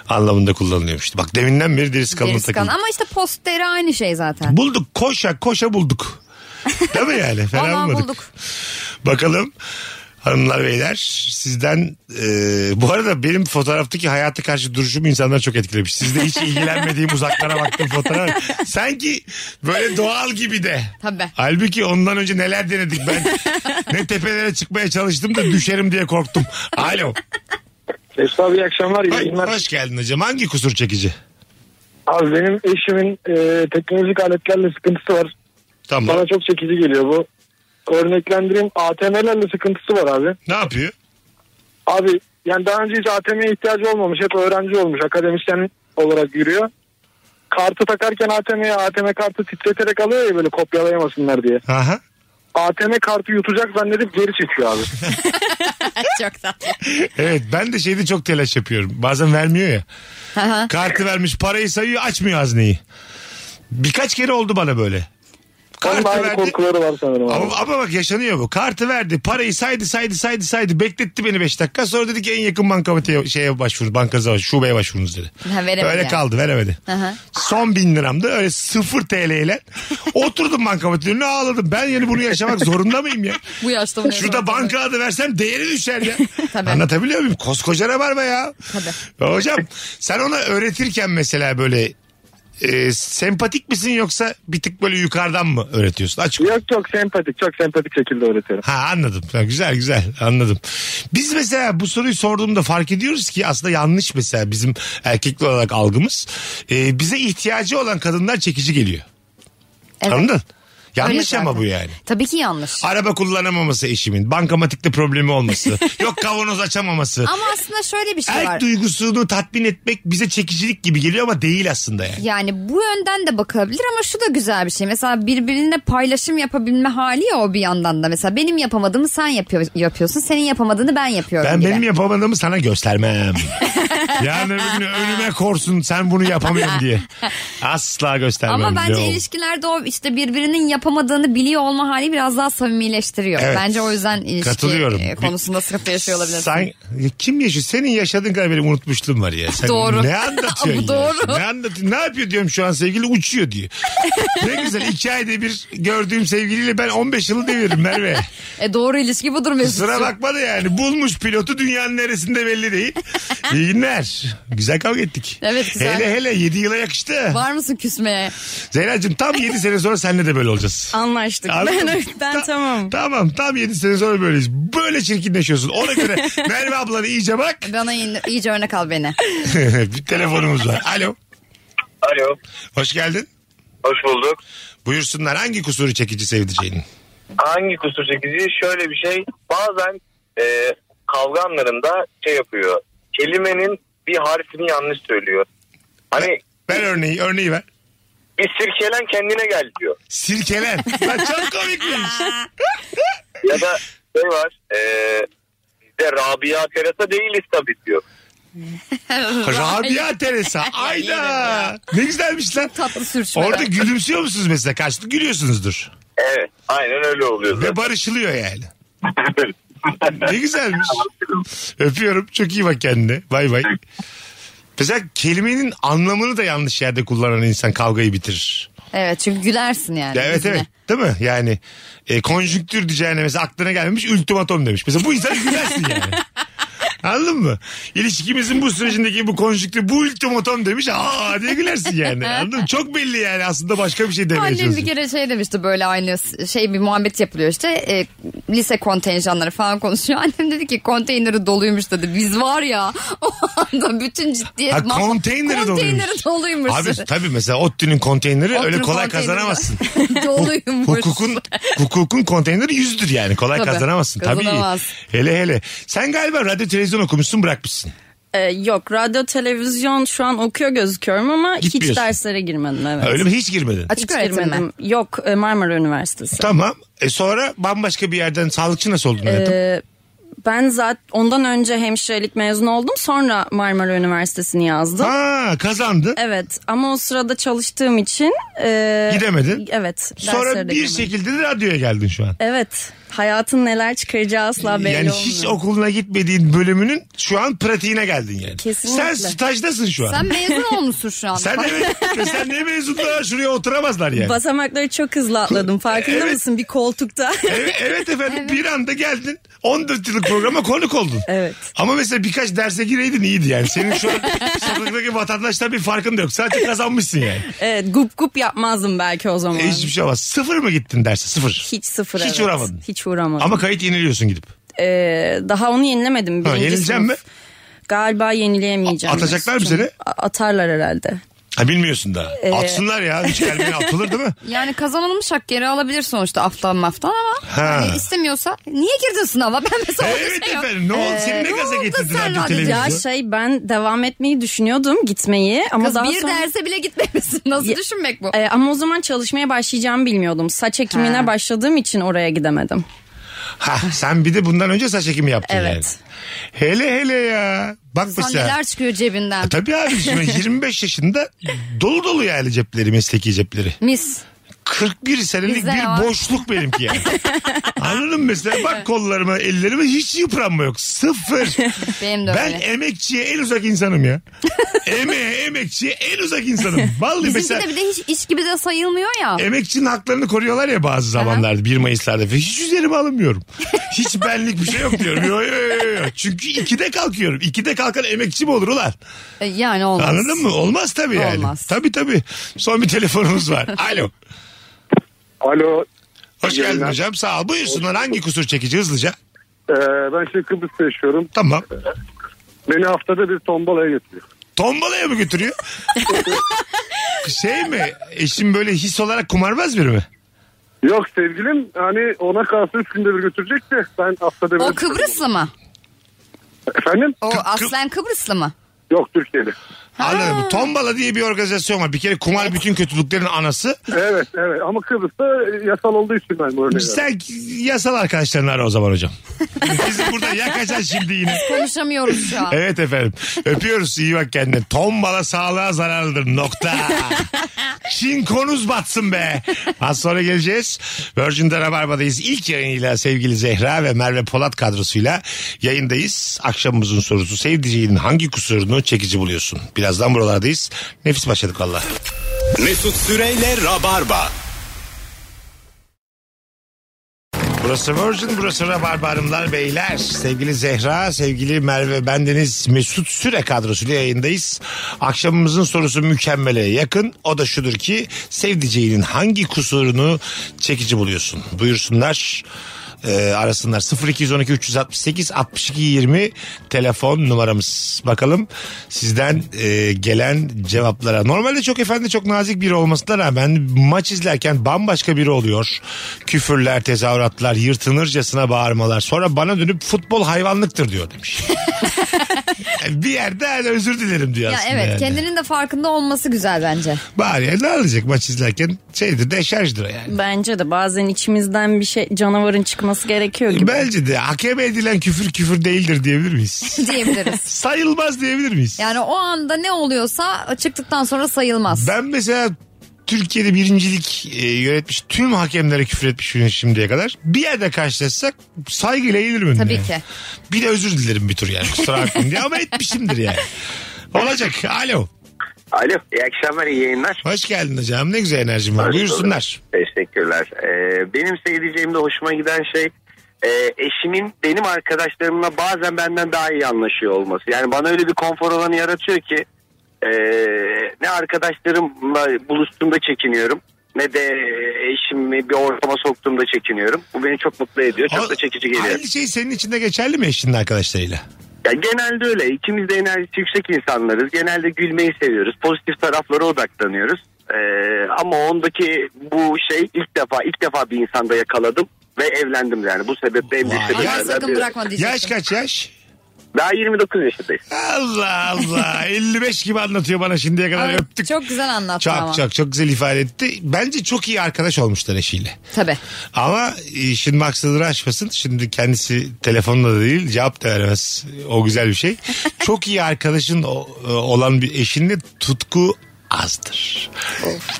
Speaker 1: anlamında kullanılıyormuş. Bak deminden beri derisi kalın
Speaker 2: Gerisi kalın.
Speaker 1: takıldı.
Speaker 2: Ama işte posteri aynı şey zaten.
Speaker 1: Bulduk koşa koşa bulduk. Değil mi yani? Fena
Speaker 2: Vallahi
Speaker 1: bulmadık.
Speaker 2: bulduk.
Speaker 1: Bakalım hanımlar beyler sizden e, bu arada benim fotoğraftaki hayata karşı duruşumu insanlar çok etkilemiş. Sizde hiç ilgilenmediğim uzaklara baktığım fotoğraf. Sanki böyle doğal gibi de.
Speaker 2: Tabii.
Speaker 1: Halbuki ondan önce neler denedik ben. ne tepelere çıkmaya çalıştım da düşerim diye korktum. Alo.
Speaker 4: Mesut abi iyi akşamlar. iyi
Speaker 1: Ay,
Speaker 4: yayınlar.
Speaker 1: hoş geldin hocam. Hangi kusur çekici?
Speaker 4: Abi benim eşimin e, teknolojik aletlerle sıkıntısı var.
Speaker 1: Tamam.
Speaker 4: Bana çok çekici geliyor bu. Örneklendireyim ATM'lerle sıkıntısı var abi.
Speaker 1: Ne yapıyor?
Speaker 4: Abi yani daha önce hiç ATM'ye ihtiyacı olmamış. Hep öğrenci olmuş. Akademisyen olarak yürüyor. Kartı takarken ATM'ye ATM kartı titreterek alıyor ya böyle kopyalayamasınlar diye.
Speaker 1: Aha.
Speaker 4: ATM kartı yutacak zannedip geri çekiyor abi.
Speaker 2: çok tatlı.
Speaker 1: Evet ben de şeyde çok telaş yapıyorum. Bazen vermiyor ya.
Speaker 2: Aha.
Speaker 1: Kartı vermiş parayı sayıyor açmıyor hazneyi. Birkaç kere oldu bana böyle.
Speaker 4: Onun da
Speaker 1: Kartı
Speaker 4: aynı
Speaker 1: verdi.
Speaker 4: korkuları var sanırım abi.
Speaker 1: Ama, ama bak yaşanıyor bu. Kartı verdi parayı saydı saydı saydı saydı bekletti beni 5 dakika. Sonra dedi ki en yakın bankamatiğe şeye başvurun bankaza başvurun şubeye başvurunuz dedi.
Speaker 2: Ha, veremedi
Speaker 1: öyle
Speaker 2: yani.
Speaker 1: kaldı veremedi.
Speaker 2: Aha.
Speaker 1: Son bin liramdı öyle sıfır TL ile oturdum bankamatiğin önüne ağladım. Ben yani bunu yaşamak zorunda mıyım ya?
Speaker 2: Bu yaşta bunu
Speaker 1: Şurada
Speaker 2: yaşamak
Speaker 1: banka adı versem değeri düşer ya.
Speaker 2: Tabii.
Speaker 1: Anlatabiliyor muyum? Koskoca ne var be ya? Ya Hocam sen ona öğretirken mesela böyle e, sempatik misin yoksa bir tık böyle yukarıdan mı öğretiyorsun? Açık.
Speaker 4: Yok çok sempatik. Çok sempatik şekilde öğretiyorum.
Speaker 1: Ha anladım. Ha, güzel güzel anladım. Biz mesela bu soruyu sorduğumda fark ediyoruz ki aslında yanlış mesela bizim erkekli olarak algımız. E, bize ihtiyacı olan kadınlar çekici geliyor.
Speaker 2: Evet.
Speaker 1: Anladın?
Speaker 2: Öyle
Speaker 1: Yanlış ama
Speaker 2: zaten.
Speaker 1: bu yani.
Speaker 2: Tabii ki yanlış.
Speaker 1: Araba kullanamaması eşimin, bankamatikte problemi olması, yok kavanoz açamaması.
Speaker 2: Ama aslında şöyle bir şey
Speaker 1: Erk
Speaker 2: var.
Speaker 1: duygusunu tatmin etmek bize çekicilik gibi geliyor ama değil aslında yani.
Speaker 2: Yani bu yönden de bakılabilir ama şu da güzel bir şey. Mesela birbirine paylaşım yapabilme hali ya o bir yandan da. Mesela benim yapamadığımı sen yapıyor, yapıyorsun. Senin yapamadığını ben yapıyorum
Speaker 1: Ben
Speaker 2: gibi.
Speaker 1: benim yapamadığımı sana göstermem. yani öbür gün önüme korsun sen bunu yapamıyorsun diye. Asla göstermem.
Speaker 2: ama
Speaker 1: Ne
Speaker 2: bence
Speaker 1: olur.
Speaker 2: ilişkilerde o işte birbirinin yapamadığını biliyor olma hali biraz daha samimileştiriyor.
Speaker 1: Evet.
Speaker 2: Bence o yüzden ilişki
Speaker 1: Katılıyorum.
Speaker 2: e, konusunda sıkıntı yaşıyor olabilirsin.
Speaker 1: Sen, kim yaşıyor? Senin yaşadığın kadar benim unutmuşluğum var ya. Sen
Speaker 2: Doğru.
Speaker 1: Ne anlatıyorsun?
Speaker 2: Bu
Speaker 1: ya?
Speaker 2: doğru.
Speaker 1: Ne anlatıyorsun? Ne yapıyor diyorum şu an sevgili uçuyor diyor. ne güzel iki ayda bir gördüğüm sevgiliyle ben 15 yılı deviririm Merve.
Speaker 2: E doğru ilişki budur Mesut'cum.
Speaker 1: Sıra bakmadı yani. Bulmuş pilotu dünyanın neresinde belli değil. İyi günler. Güzel kavga ettik.
Speaker 2: Evet, güzel.
Speaker 1: Hele hele 7 yıla yakıştı.
Speaker 2: Var mısın küsmeye?
Speaker 1: Zeynacığım tam 7 sene sonra seninle de böyle olacağız.
Speaker 3: Anlaştık.
Speaker 1: Anladın
Speaker 3: Ben,
Speaker 1: mı?
Speaker 3: ben
Speaker 1: Ta-
Speaker 3: tamam.
Speaker 1: Tamam tam 7 sene sonra böyleyiz. Böyle çirkinleşiyorsun. Ona göre Merve ablanı iyice bak.
Speaker 2: Bana in- iyice örnek al beni.
Speaker 1: bir telefonumuz var. Alo.
Speaker 5: Alo.
Speaker 1: Hoş geldin.
Speaker 5: Hoş bulduk.
Speaker 1: Buyursunlar hangi kusuru çekici sevdiceğinin?
Speaker 5: Hangi kusur çekici? Şöyle bir şey. Bazen e, kavga anlarında şey yapıyor. Kelimenin bir harfini yanlış söylüyor. Hani
Speaker 1: Ver örneği, örneği ver.
Speaker 4: bir sirkelen kendine gel diyor.
Speaker 1: Sirkelen. Lan çok komikmiş.
Speaker 4: Ya da şey var e, biz de Rabia Terasa değiliz tabii diyor.
Speaker 1: Rabia Teresa. Ayda. Ne güzelmiş lan.
Speaker 2: Tatlı sürçme.
Speaker 1: Orada gülümsüyor musunuz mesela? Karşılıklı gülüyorsunuzdur.
Speaker 4: Evet aynen öyle oluyor.
Speaker 1: Ve barışılıyor yani. Ne güzelmiş. Öpüyorum. Çok iyi bak kendine. Bay bay. Mesela kelimenin anlamını da yanlış yerde kullanan insan kavgayı bitirir.
Speaker 2: Evet çünkü gülersin yani.
Speaker 1: Ya evet
Speaker 2: yüzüne.
Speaker 1: evet. Değil mi? Yani e, konjüktür diyeceğine mesela aklına gelmemiş ultimatom demiş. Mesela bu insan gülersin yani. Anladın mı? İlişkimizin bu sürecindeki bu konjüktür bu ultimatom demiş. Aa diye gülersin yani. Anladın mı? Çok belli yani aslında başka bir şey demeye
Speaker 2: Annem
Speaker 1: çalışıyor.
Speaker 2: bir kere şey demişti böyle aynı şey bir muhabbet yapılıyor işte e, lise kontenjanları falan konuşuyor. Annem dedi ki konteyneri doluymuş dedi. Biz var ya o anda bütün ciddiyet.
Speaker 1: Ha,
Speaker 2: mahvol-
Speaker 1: konteyneri doluymuş.
Speaker 2: Konteyneri doluymuş.
Speaker 1: Abi tabii mesela ODTÜ'nün konteyneri öyle
Speaker 2: Oturun
Speaker 1: kolay
Speaker 2: konteyneri
Speaker 1: kazanamazsın.
Speaker 2: doluymuş.
Speaker 1: Hukukun hukukun konteyneri yüzdür yani. Kolay
Speaker 2: Tabii,
Speaker 1: kazanamazsın.
Speaker 2: kazanamaz.
Speaker 1: Tabii. Hele hele. Sen galiba radyo televizyon okumuşsun bırakmışsın.
Speaker 3: Ee, yok radyo televizyon şu an okuyor gözüküyorum ama hiç
Speaker 1: Gitmiyorsun.
Speaker 3: derslere girmedim evet.
Speaker 1: Öyle mi? Hiç girmedin.
Speaker 2: Açık
Speaker 3: Hiç
Speaker 2: öğretim mi?
Speaker 3: girmedim. Yok e, Marmara Üniversitesi.
Speaker 1: Tamam. E sonra bambaşka bir yerden sağlıkçı nasıl
Speaker 3: Ee,
Speaker 1: oldun hayatım?
Speaker 3: Ben zaten ondan önce hemşirelik mezun oldum sonra Marmara Üniversitesi'ni yazdım.
Speaker 1: ha kazandın.
Speaker 3: Evet ama o sırada çalıştığım için e,
Speaker 1: Gidemedin.
Speaker 3: Evet.
Speaker 1: sonra
Speaker 3: derslere
Speaker 1: bir
Speaker 3: de giremedim.
Speaker 1: şekilde de radyoya geldin şu an.
Speaker 3: Evet. Hayatın neler çıkaracağı asla belli
Speaker 1: yani
Speaker 3: olmuyor.
Speaker 1: hiç okuluna gitmediğin bölümünün şu an pratiğine geldin yani.
Speaker 3: Kesinlikle.
Speaker 1: Sen stajdasın şu an.
Speaker 2: Sen
Speaker 1: Sen,
Speaker 2: mezun olmuşsun şu anda.
Speaker 1: evet. sen ne mezunlar şuraya oturamazlar yani.
Speaker 3: Basamakları çok hızlı atladım. Farkında
Speaker 1: Evet.
Speaker 3: mısın bir koltukta?
Speaker 1: Evet, evet efendim bir anda geldin 14 yıllık programa konuk oldun.
Speaker 3: Evet.
Speaker 1: Ama mesela birkaç derse gireydin iyiydi yani. Senin şu an sokaktaki vatandaştan bir farkın da yok. Sadece kazanmışsın yani.
Speaker 3: evet gup gup yapmazdım belki o zaman.
Speaker 1: E, hiçbir şey olmaz. Sıfır mı gittin derse? Sıfır.
Speaker 3: Hiç sıfır
Speaker 1: Hiç
Speaker 3: evet.
Speaker 1: uğramadın.
Speaker 3: Hiç uğramadım.
Speaker 1: Ama kayıt yeniliyorsun gidip.
Speaker 3: Ee, daha onu yenilemedim.
Speaker 1: Ha,
Speaker 3: Birinci
Speaker 1: yenileceğim
Speaker 3: sınıf. Galiba yenileyemeyeceğim.
Speaker 1: A- atacaklar mı
Speaker 3: Mesut'cum.
Speaker 1: seni?
Speaker 3: A- Atarlar herhalde.
Speaker 1: Ha bilmiyorsun daha.
Speaker 3: Ee,
Speaker 1: Atsınlar ya. Hiç gelmeye atılır değil mi?
Speaker 2: Yani kazanılmış hak geri alabilir sonuçta aftan maftan ama
Speaker 1: Ha.
Speaker 2: hani istemiyorsa niye girdin sınava ben mesela öyle
Speaker 1: evet
Speaker 2: şey yok.
Speaker 1: efendim. Ne oldu? Seni ne
Speaker 2: ne
Speaker 1: gaza
Speaker 2: oldu
Speaker 1: getirdin
Speaker 2: sen
Speaker 1: radyo
Speaker 2: radyo-
Speaker 3: Ya
Speaker 1: televizyon?
Speaker 3: şey ben devam etmeyi düşünüyordum gitmeyi ama
Speaker 2: Kız
Speaker 3: daha
Speaker 2: bir
Speaker 3: sonra...
Speaker 2: derse bile gitmemişsin nasıl
Speaker 3: Ya-
Speaker 2: düşünmek bu?
Speaker 3: Ee, ama o zaman çalışmaya başlayacağımı bilmiyordum. Saç ekimine
Speaker 2: Ha.
Speaker 3: başladığım için oraya gidemedim.
Speaker 1: Ha, sen bir de bundan önce saç ekimi yaptın
Speaker 3: Evet.
Speaker 1: yani. Hele hele ya. Bak
Speaker 2: Sen
Speaker 1: mesela.
Speaker 2: neler çıkıyor cebinden?
Speaker 1: E, Tabii abi şimdi 25 yaşında dolu dolu yani cepleri mesleki cepleri.
Speaker 2: Mis.
Speaker 1: 41 senelik
Speaker 2: Bizde
Speaker 1: bir
Speaker 2: ne var?
Speaker 1: boşluk benimki yani. Anladın mı mesela bak kollarıma ellerime hiç yıpranma yok. Sıfır.
Speaker 2: Benim de
Speaker 1: ben
Speaker 2: öyle.
Speaker 1: emekçiye en uzak insanım ya. Emeğe emekçiye en uzak insanım. Vallahi
Speaker 2: Bizimki
Speaker 1: mesela
Speaker 2: de bir de hiç iş gibi de sayılmıyor ya.
Speaker 1: emekçinin haklarını koruyorlar ya bazı zamanlarda 1 Mayıs'larda falan. Hiç üzerime alınmıyorum. Hiç benlik bir şey yok diyorum. Yo, yo, yo, yo. Çünkü 2'de kalkıyorum. 2'de kalkan emekçi mi olur ulan?
Speaker 2: E, Yani olmaz.
Speaker 1: Anladın mı? Olmaz tabii yani.
Speaker 2: Olmaz.
Speaker 1: Tabii tabii. Son bir telefonumuz var. Alo.
Speaker 4: Alo
Speaker 1: Hoş
Speaker 4: İyi
Speaker 1: geldin
Speaker 4: yayınlar.
Speaker 1: hocam. Sağ ol. Buyursunlar hangi kusur çekici hızlıca?
Speaker 4: e, ben şimdi Kıbrıs'ta yaşıyorum.
Speaker 1: Tamam.
Speaker 4: Beni haftada bir tombalaya götürüyor.
Speaker 1: Tombalaya mı götürüyor? şey mi? Eşim böyle his olarak kumarbaz biri mi?
Speaker 4: Yok sevgilim hani ona kalsın üç günde bir götürecek de ben haftada bir...
Speaker 2: O Kıbrıslı mı?
Speaker 4: Efendim?
Speaker 2: O
Speaker 1: Kı- Kı-
Speaker 2: aslen Kıbrıslı mı?
Speaker 4: Yok Türkiye'de.
Speaker 1: Anladın mı? Tombala diye bir organizasyon var. Bir kere kumar bütün kötülüklerin anası.
Speaker 4: Evet evet ama Kıbrıs'ta yasal olduğu için ben bu örneği verdim.
Speaker 1: Sen yasal arkadaşlarını ara o zaman hocam. Bizi burada yakacaksın şimdi yine.
Speaker 2: Konuşamıyoruz şu an.
Speaker 1: Evet efendim. Öpüyoruz. iyi bak kendine. Tombala sağlığa zararlıdır. Nokta. Çin konuz batsın be. Az sonra geleceğiz. Virgin'de Rabarba'dayız. İlk yayınıyla sevgili Zehra ve Merve Polat kadrosuyla yayındayız. Akşamımızın sorusu sevdiceğinin hangi kusurunu çekici buluyorsun? Birazdan buralardayız. Nefis başladık valla.
Speaker 7: Mesut Süreyle Rabarba.
Speaker 1: Burası Virgin, burası Rabarba Hanımlar Beyler. Sevgili Zehra, sevgili Merve, bendeniz Mesut Süre kadrosuyla yayındayız. Akşamımızın sorusu mükemmele yakın. O da şudur ki sevdiceğinin hangi kusurunu çekici buluyorsun? Buyursunlar. e, arasınlar 0212 368 62 20 telefon numaramız bakalım sizden e, gelen cevaplara normalde çok efendi çok nazik biri olmasına rağmen maç izlerken bambaşka biri oluyor küfürler tezahüratlar yırtınırcasına bağırmalar sonra bana dönüp futbol hayvanlıktır diyor demiş Yani bir yerde hani özür dilerim diyor
Speaker 2: Ya
Speaker 1: aslında.
Speaker 2: evet
Speaker 1: yani.
Speaker 2: kendinin de farkında olması güzel bence.
Speaker 1: Bari ya ne alacak maç izlerken şeydir deşarjdır yani.
Speaker 3: Bence de bazen içimizden bir şey canavarın çıkması gerekiyor gibi.
Speaker 1: Bence de hakeme edilen küfür küfür değildir diyebilir miyiz?
Speaker 2: diyebiliriz.
Speaker 1: Sayılmaz diyebilir miyiz?
Speaker 2: Yani o anda ne oluyorsa çıktıktan sonra sayılmaz.
Speaker 1: Ben mesela Türkiye'de birincilik e, yönetmiş tüm hakemlere küfür etmiş biriyim şimdiye kadar. Bir yerde karşılaşsak saygıyla eğilirim önüne.
Speaker 2: Tabii
Speaker 1: yani.
Speaker 2: ki.
Speaker 1: Bir de özür dilerim bir tur yani kusura bakmayın diye ama etmişimdir yani. Olacak. Alo.
Speaker 8: Alo iyi akşamlar iyi yayınlar.
Speaker 1: Hoş geldin hocam. Ne güzel enerjin var.
Speaker 8: Hoş
Speaker 1: Buyursunlar.
Speaker 8: bulduk. Teşekkürler. Ee, benim seyredeceğimde hoşuma giden şey e, eşimin benim arkadaşlarımla bazen benden daha iyi anlaşıyor olması. Yani bana öyle bir konfor alanı yaratıyor ki e, ne arkadaşlarımla buluştuğumda çekiniyorum ne de eşimi bir ortama soktuğumda çekiniyorum. Bu beni çok mutlu ediyor. Çok
Speaker 1: O-
Speaker 8: da çekici geliyor.
Speaker 1: Aynı şey senin için de geçerli mi eşinin arkadaşlarıyla?
Speaker 8: Ya genelde öyle. İkimiz de enerjisi yüksek insanlarız. Genelde gülmeyi seviyoruz. Pozitif taraflara odaklanıyoruz. Ee, ama ondaki bu şey ilk defa ilk defa bir insanda yakaladım ve evlendim yani. Bu sebeple en büyük
Speaker 1: Vay.
Speaker 2: Aman
Speaker 1: Ya-
Speaker 8: sebeplerden
Speaker 2: sakın
Speaker 8: biri.
Speaker 2: bırakma diyecektim.
Speaker 1: Yaş kaç yaş?
Speaker 8: Daha 29 yaşındayız.
Speaker 1: Allah Allah. 55 gibi anlatıyor bana şimdiye kadar
Speaker 2: Ama
Speaker 1: öptük.
Speaker 2: Çok güzel anlattı
Speaker 1: Çok
Speaker 2: ama.
Speaker 1: çok çok güzel ifade etti. Bence çok iyi arkadaş olmuşlar eşiyle.
Speaker 2: Tabii.
Speaker 1: Ama işin maksadını aşmasın. Şimdi kendisi telefonla da değil cevap da veremez. O güzel bir şey. Çok iyi arkadaşın o- e, olan bir eşinle tutku azdır.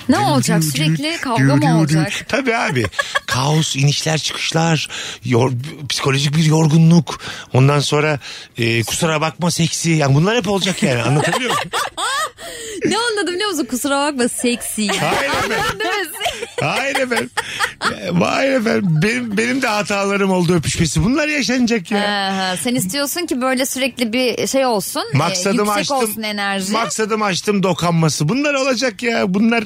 Speaker 2: Ne olacak sürekli kavga mı olacak?
Speaker 1: Tabii abi. Kaos, inişler, çıkışlar, yor- psikolojik bir yorgunluk. Ondan sonra e, kusura bakma seksi. Yani bunlar hep olacak yani. Anlatabiliyor muyum?
Speaker 2: ne anladım biliyor musun? Kusura bakma seksi. ya.
Speaker 1: Hayır efendim.
Speaker 2: Değil mi?
Speaker 1: Hayır efendim. Hayır efendim. Benim, benim de hatalarım oldu öpüşmesi. Bunlar yaşanacak ya.
Speaker 2: Aha, sen istiyorsun ki böyle sürekli bir şey olsun. e,
Speaker 1: Maksadımı
Speaker 2: yüksek
Speaker 1: açtım.
Speaker 2: olsun enerji.
Speaker 1: Maksadımı açtım dokanması. Bunlar olacak ya. Bunlar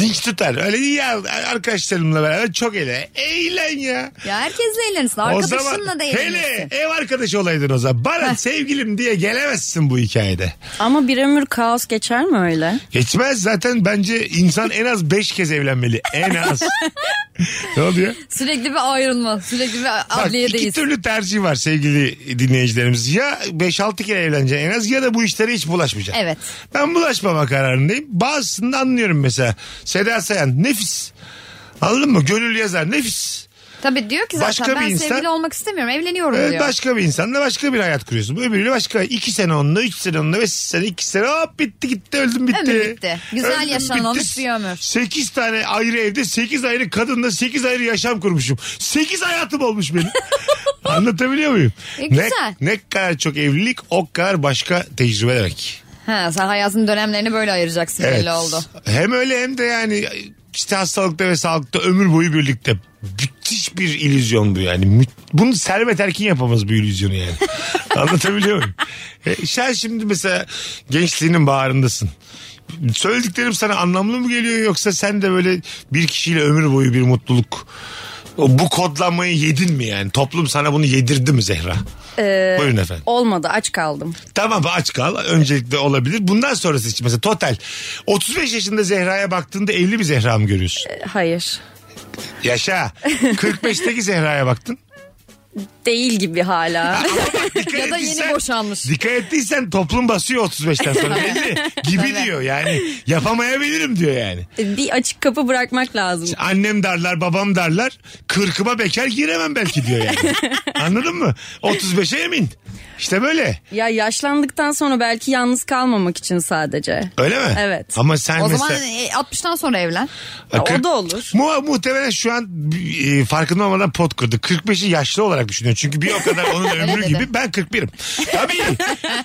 Speaker 1: dinç tutar. Öyle değil ya. Arkadaşlarımla beraber çok eğlen. Eğlen ya.
Speaker 2: ya herkesle eğlenirsin.
Speaker 1: O
Speaker 2: Arkadaşınla
Speaker 1: zaman
Speaker 2: da
Speaker 1: hele
Speaker 2: eğlenirsin.
Speaker 1: ev arkadaşı olaydın o zaman. Bana sevgilim diye gelemezsin bu hikayede.
Speaker 3: Ama bir ömür kaos geçer mi öyle?
Speaker 1: Geçmez zaten bence insan en az 5 kez evlenmeli. En az. ne oluyor?
Speaker 2: Sürekli bir ayrılma. Sürekli bir
Speaker 1: Bak, iki
Speaker 2: adliyedeyiz.
Speaker 1: türlü tercih var sevgili dinleyicilerimiz. Ya 5-6 kere evleneceksin en az ya da bu işlere hiç bulaşmayacaksın.
Speaker 2: Evet.
Speaker 1: Ben bulaşmama kararındayım. Bazısını da anlıyorum mesela. Seda Sayan nefis. Anladın mı? Gönül yazar nefis.
Speaker 2: Tabii diyor ki zaten
Speaker 1: Başka bir
Speaker 2: ben
Speaker 1: insan-
Speaker 2: sevgili olmak istemiyorum. Evleniyorum
Speaker 1: Evet,
Speaker 2: diyor.
Speaker 1: Ee, başka bir insanla başka bir hayat kuruyorsun. Öbürüyle başka. iki sene onunla, üç sene onunla, beş sene, iki sene hop bitti gitti öldüm bitti.
Speaker 2: Ömür bitti. Güzel
Speaker 1: Öldüm,
Speaker 2: yaşanılmış
Speaker 1: bitti.
Speaker 2: bir ömür.
Speaker 1: Sekiz tane ayrı evde, sekiz ayrı kadınla, sekiz ayrı yaşam kurmuşum. Sekiz hayatım olmuş benim. Anlatabiliyor muyum?
Speaker 2: E, güzel.
Speaker 1: Ne, ne kadar çok evlilik o kadar başka tecrübe demek.
Speaker 2: Ha, sen hayatın dönemlerini böyle ayıracaksın belli oldu.
Speaker 1: Hem öyle hem de yani işte hastalıkta ve sağlıkta ömür boyu birlikte. Müthiş bir illüzyon bu yani. Mü- Bunu Servet Erkin yapamaz bu illüzyonu yani. Anlatabiliyor muyum? E, sen şimdi mesela gençliğinin bağrındasın. Söylediklerim sana anlamlı mı geliyor yoksa sen de böyle bir kişiyle ömür boyu bir mutluluk o- bu kodlanmayı yedin mi yani? Toplum sana bunu yedirdi mi Zehra? Buyurun efendim.
Speaker 3: Olmadı aç kaldım.
Speaker 1: Tamam aç kal. Öncelikle olabilir. Bundan sonrası için mesela total. 35 yaşında Zehra'ya baktığında 50 bir Zehra mı görüyorsun?
Speaker 3: E, Hayır.
Speaker 1: Yaşa. 45'teki Zehra'ya baktın.
Speaker 3: Değil gibi hala.
Speaker 1: Dikkat
Speaker 2: Ya da yeni
Speaker 1: ettiysen-
Speaker 2: boşanmış.
Speaker 1: Dikkat ettiysen toplum basıyor 35'ten sonra belli. Gibi diyor yani. Yapamayabilirim diyor yani.
Speaker 3: E, bir açık kapı bırakmak lazım.
Speaker 1: Annem darlar babam darlar. Kırkıma bekar giremem belki diyor yani. Anladın mı? 35'e emin. İşte böyle.
Speaker 3: Ya yaşlandıktan sonra belki yalnız kalmamak için sadece.
Speaker 1: Öyle mi?
Speaker 3: Evet.
Speaker 1: Ama sen
Speaker 2: O
Speaker 1: mesela...
Speaker 2: zaman e, 60'tan sonra evlen.
Speaker 3: Ya
Speaker 1: Kırk-
Speaker 3: o da olur.
Speaker 1: Mu muhtemelen şu an e, farkında olmadan pot kırdı. 45'i yaşlı olarak düşünüyor. Çünkü bir o kadar onun ömrü
Speaker 2: dedi.
Speaker 1: gibi ben 41'im. Tabii.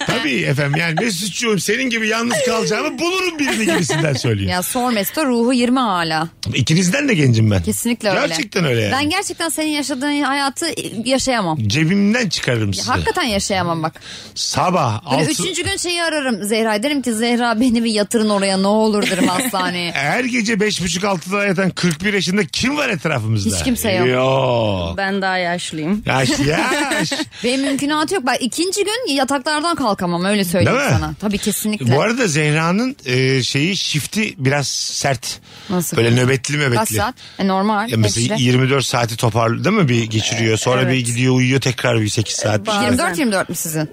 Speaker 1: tabii efendim yani ne suçluğum senin gibi yalnız kalacağımı bulurum birini gibisinden söylüyor.
Speaker 2: Ya sor Mesut'a ruhu 20 hala.
Speaker 1: İkinizden de gencim ben.
Speaker 2: Kesinlikle öyle.
Speaker 1: Gerçekten öyle yani.
Speaker 2: Ben gerçekten senin yaşadığın hayatı yaşayamam.
Speaker 1: Cebimden çıkarırım sizi.
Speaker 2: Hakikaten yaşayamam bak.
Speaker 1: Sabah
Speaker 2: Böyle
Speaker 1: altı...
Speaker 2: üçüncü gün şeyi ararım Zehra. Derim ki Zehra beni bir yatırın oraya ne olur derim hastaneye.
Speaker 1: Her gece 5.30-6'da yatan 41 yaşında kim var etrafımızda?
Speaker 2: Hiç kimse yok.
Speaker 1: Yok.
Speaker 3: Ben daha yaşlıyım.
Speaker 1: Yaş, yaş.
Speaker 2: Benim mümkünatı yok. Ben ikinci gün yataklardan kalkamam öyle söyleyeyim
Speaker 1: Değil mi?
Speaker 2: sana. Tabii kesinlikle.
Speaker 1: Bu arada Zehra'nın e, şeyi shifti biraz sert.
Speaker 2: Nasıl?
Speaker 1: Böyle nöbet nöbetli mebetli.
Speaker 2: Kaç saat? E, normal.
Speaker 1: Ya mesela
Speaker 2: hemşire.
Speaker 1: 24 saati toparlı değil mi bir geçiriyor. Sonra bir
Speaker 3: Evet.
Speaker 1: gidiyor uyuyor tekrar bir 8 saat.
Speaker 3: Bazen.
Speaker 2: 24-24 mi sizin?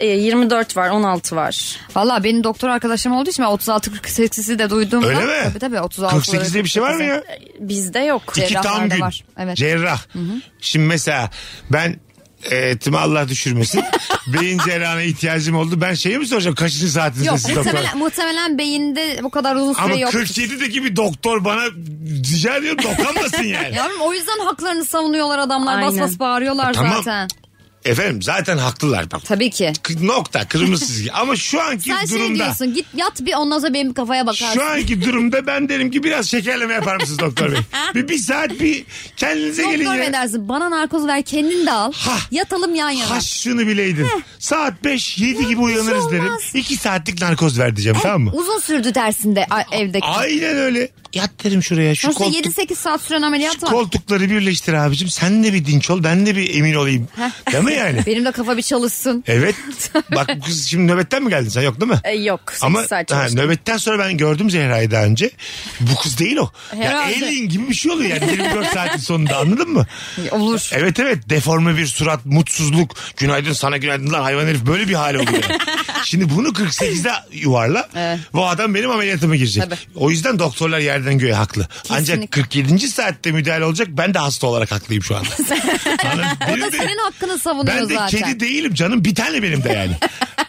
Speaker 3: E, 24 var 16 var.
Speaker 2: Valla benim doktor arkadaşım olduğu için ben 36-48'i de duyduğumda.
Speaker 1: Öyle mi?
Speaker 2: Tabii tabii 36
Speaker 1: 48 diye bir şey var mı ya?
Speaker 3: Bizde yok.
Speaker 1: İki tam
Speaker 2: cerrahlarda
Speaker 1: gün.
Speaker 2: var. Evet.
Speaker 1: Cerrah. Şimdi mesela ben eğitimi Allah düşürmesin. beyin cerrahına ihtiyacım oldu. Ben şeyi mi soracağım? Kaçıncı
Speaker 2: Yok
Speaker 1: saatindesiniz doktor?
Speaker 2: muhtemelen, muhtemelen beyinde bu kadar uzun süre
Speaker 1: Ama
Speaker 2: yok.
Speaker 1: 47'deki bir doktor bana rica ediyorum dokanmasın yani.
Speaker 2: Yavrum o yüzden haklarını savunuyorlar adamlar bas
Speaker 3: Aynen.
Speaker 2: bas bağırıyorlar
Speaker 1: E, Tamam.
Speaker 2: zaten.
Speaker 1: Efendim zaten haklılar bak.
Speaker 2: Tabii ki.
Speaker 1: K- Nokta kırmızı çizgi. Ama şu anki
Speaker 2: Sen şey
Speaker 1: durumda.
Speaker 2: diyorsun git yat bir ondan sonra benim kafaya bakarsın.
Speaker 1: Şu anki durumda ben derim ki biraz şekerleme yapar mısınız doktor bey? Bir, bir saat bir kendinize gelin
Speaker 2: Doktor
Speaker 1: ya.
Speaker 2: edersin bana narkoz ver kendin de al.
Speaker 1: Ha.
Speaker 2: Yatalım yan yana.
Speaker 1: Ha şunu bileydin. Saat 5 7 gibi uyanırız
Speaker 2: olmaz.
Speaker 1: derim. 2 saatlik narkoz ver diyeceğim tamam mı?
Speaker 2: Uzun sürdü dersin de a- evdeki.
Speaker 1: Aynen öyle. Yat derim şuraya şu
Speaker 2: Sonuçta
Speaker 1: koltuk.
Speaker 2: 7-8 saat süren ameliyat var.
Speaker 1: Koltukları birleştir abicim. Sen de bir dinç ol ben de bir emin olayım. Değil mi yani?
Speaker 2: Benim de kafa bir çalışsın.
Speaker 1: Evet. Bak bu kız şimdi nöbetten mi geldin sen yok değil mi?
Speaker 3: E, yok. 8
Speaker 1: Ama
Speaker 3: saat
Speaker 1: ha,
Speaker 3: çalıştım.
Speaker 1: nöbetten sonra ben gördüm Zehra'yı daha önce. Bu kız değil o. Ya
Speaker 2: Herhalde.
Speaker 1: alien gibi bir şey oluyor yani 24 saatin sonunda anladın mı?
Speaker 2: Olur.
Speaker 1: Evet evet deforme bir surat, mutsuzluk, günaydın sana günaydınlar hayvan herif böyle bir hal oluyor. Şimdi bunu 48'de yuvarla. Bu adam benim ameliyatıma girecek.
Speaker 2: Tabii.
Speaker 1: O yüzden doktorlar yerden göğe haklı. Ancak
Speaker 2: Kesinlikle.
Speaker 1: 47. saatte müdahale olacak ben de hasta olarak haklıyım şu anda. Anladın? Benim de-
Speaker 2: Senin hakkını savunuyor
Speaker 1: ben de
Speaker 2: zaten.
Speaker 1: kedi değilim canım bir tane benim de yani.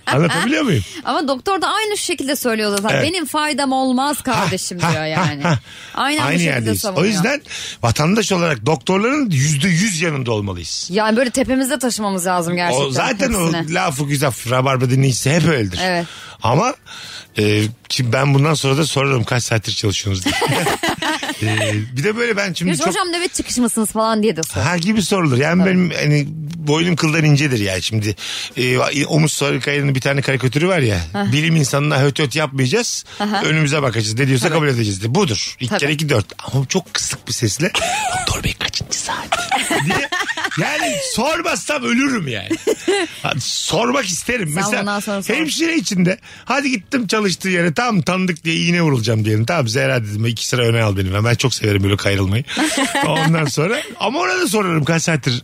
Speaker 1: Anlatabiliyor muyum?
Speaker 2: Ama doktor da aynı şu şekilde söylüyor zaten.
Speaker 1: Evet.
Speaker 2: Benim faydam olmaz kardeşim
Speaker 1: Ha,
Speaker 2: diyor
Speaker 1: ha,
Speaker 2: yani.
Speaker 1: ha.
Speaker 2: Aynen bu
Speaker 1: Aynı
Speaker 2: şekilde
Speaker 1: yerdeyiz. O
Speaker 2: savunuyor.
Speaker 1: yüzden vatandaş olarak doktorların yüzde yüz yanında olmalıyız.
Speaker 2: Yani böyle tepemizde taşımamız lazım gerçekten.
Speaker 1: O zaten
Speaker 2: hepsini.
Speaker 1: o lafı güzel rabarba dinleyicisi hep öyledir.
Speaker 2: Evet.
Speaker 1: Ama e, şimdi ben bundan sonra da sorarım kaç saattir çalışıyorsunuz diye. E, bir de böyle ben şimdi
Speaker 2: Diyor ki,
Speaker 1: çok
Speaker 2: hocam nöbet çıkış mısınız falan diye de sor.
Speaker 1: Ha gibi sorulur. Yani benim hani boynum kıldan incedir yani şimdi. E, Omuz Sarıkaya'nın bir tane karikatürü var ya. Bilim insanına höt höt yapmayacağız. Önümüze bakacağız. Ne diyorsa kabul edeceğiz diye. Budur. İlk
Speaker 2: Tabii.
Speaker 1: kere iki dört. Ama çok kısık bir sesle. Doktor bey kaçıncı saat? diye. Yani sormazsam ölürüm yani. Ha, Sormak isterim.
Speaker 2: bundan
Speaker 1: Mesela
Speaker 2: sonra sor.
Speaker 1: hemşire içinde hadi gittim çalıştığı yere tam tanıdık diye iğne vurulacağım diyelim. Tamam Zehra dedim iki sıra öne al benim. Ben çok severim böyle kayrılmayı. Ondan sonra ama ona da sorarım kaç saattir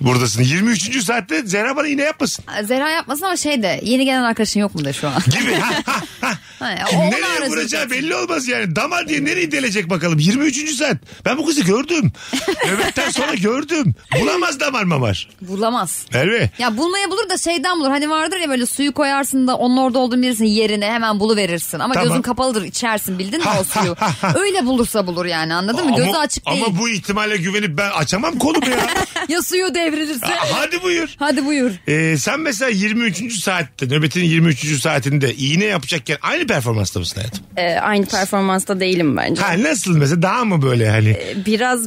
Speaker 1: buradasın. 23. saatte Zehra bana iğne yapmasın
Speaker 2: Zehra yapmasın ama şey de yeni gelen arkadaşın yok mu de şu an?
Speaker 1: gibi. Ha, ha, ha.
Speaker 2: Hani
Speaker 1: Kim
Speaker 2: o- onu
Speaker 1: nereye
Speaker 2: arayacak
Speaker 1: vuracağı belli olmaz yani. Damar diye nereye delecek bakalım. 23. saat. Ben bu kızı gördüm. Nöbetten sonra gördüm. Bulamaz damar mamar.
Speaker 2: Bulamaz.
Speaker 1: Merve.
Speaker 2: Ya bulmaya bulur da şeyden bulur. Hani vardır ya böyle suyu koyarsın da onun orada olduğunu bilirsin yerine hemen buluverirsin. Ama
Speaker 1: Tamam.
Speaker 2: gözün kapalıdır içersin bildin mi
Speaker 1: Ha,
Speaker 2: o suyu.
Speaker 1: ha, ha, ha.
Speaker 2: Öyle bulursa bulur yani anladın mı? Gözü
Speaker 1: ama,
Speaker 2: açık değil.
Speaker 1: Ama bu ihtimale güvenip ben açamam kolumu ya.
Speaker 2: Ya suyu devrilirse.
Speaker 1: Hadi buyur.
Speaker 2: Hadi buyur.
Speaker 1: Ee, sen mesela 23. saatte nöbetin 23. saatinde iğne yapacakken aynı performansta mısın hayatım?
Speaker 3: E, aynı performansta değilim bence.
Speaker 1: Ha nasıl mesela daha mı böyle hani
Speaker 2: Ee,
Speaker 3: Biraz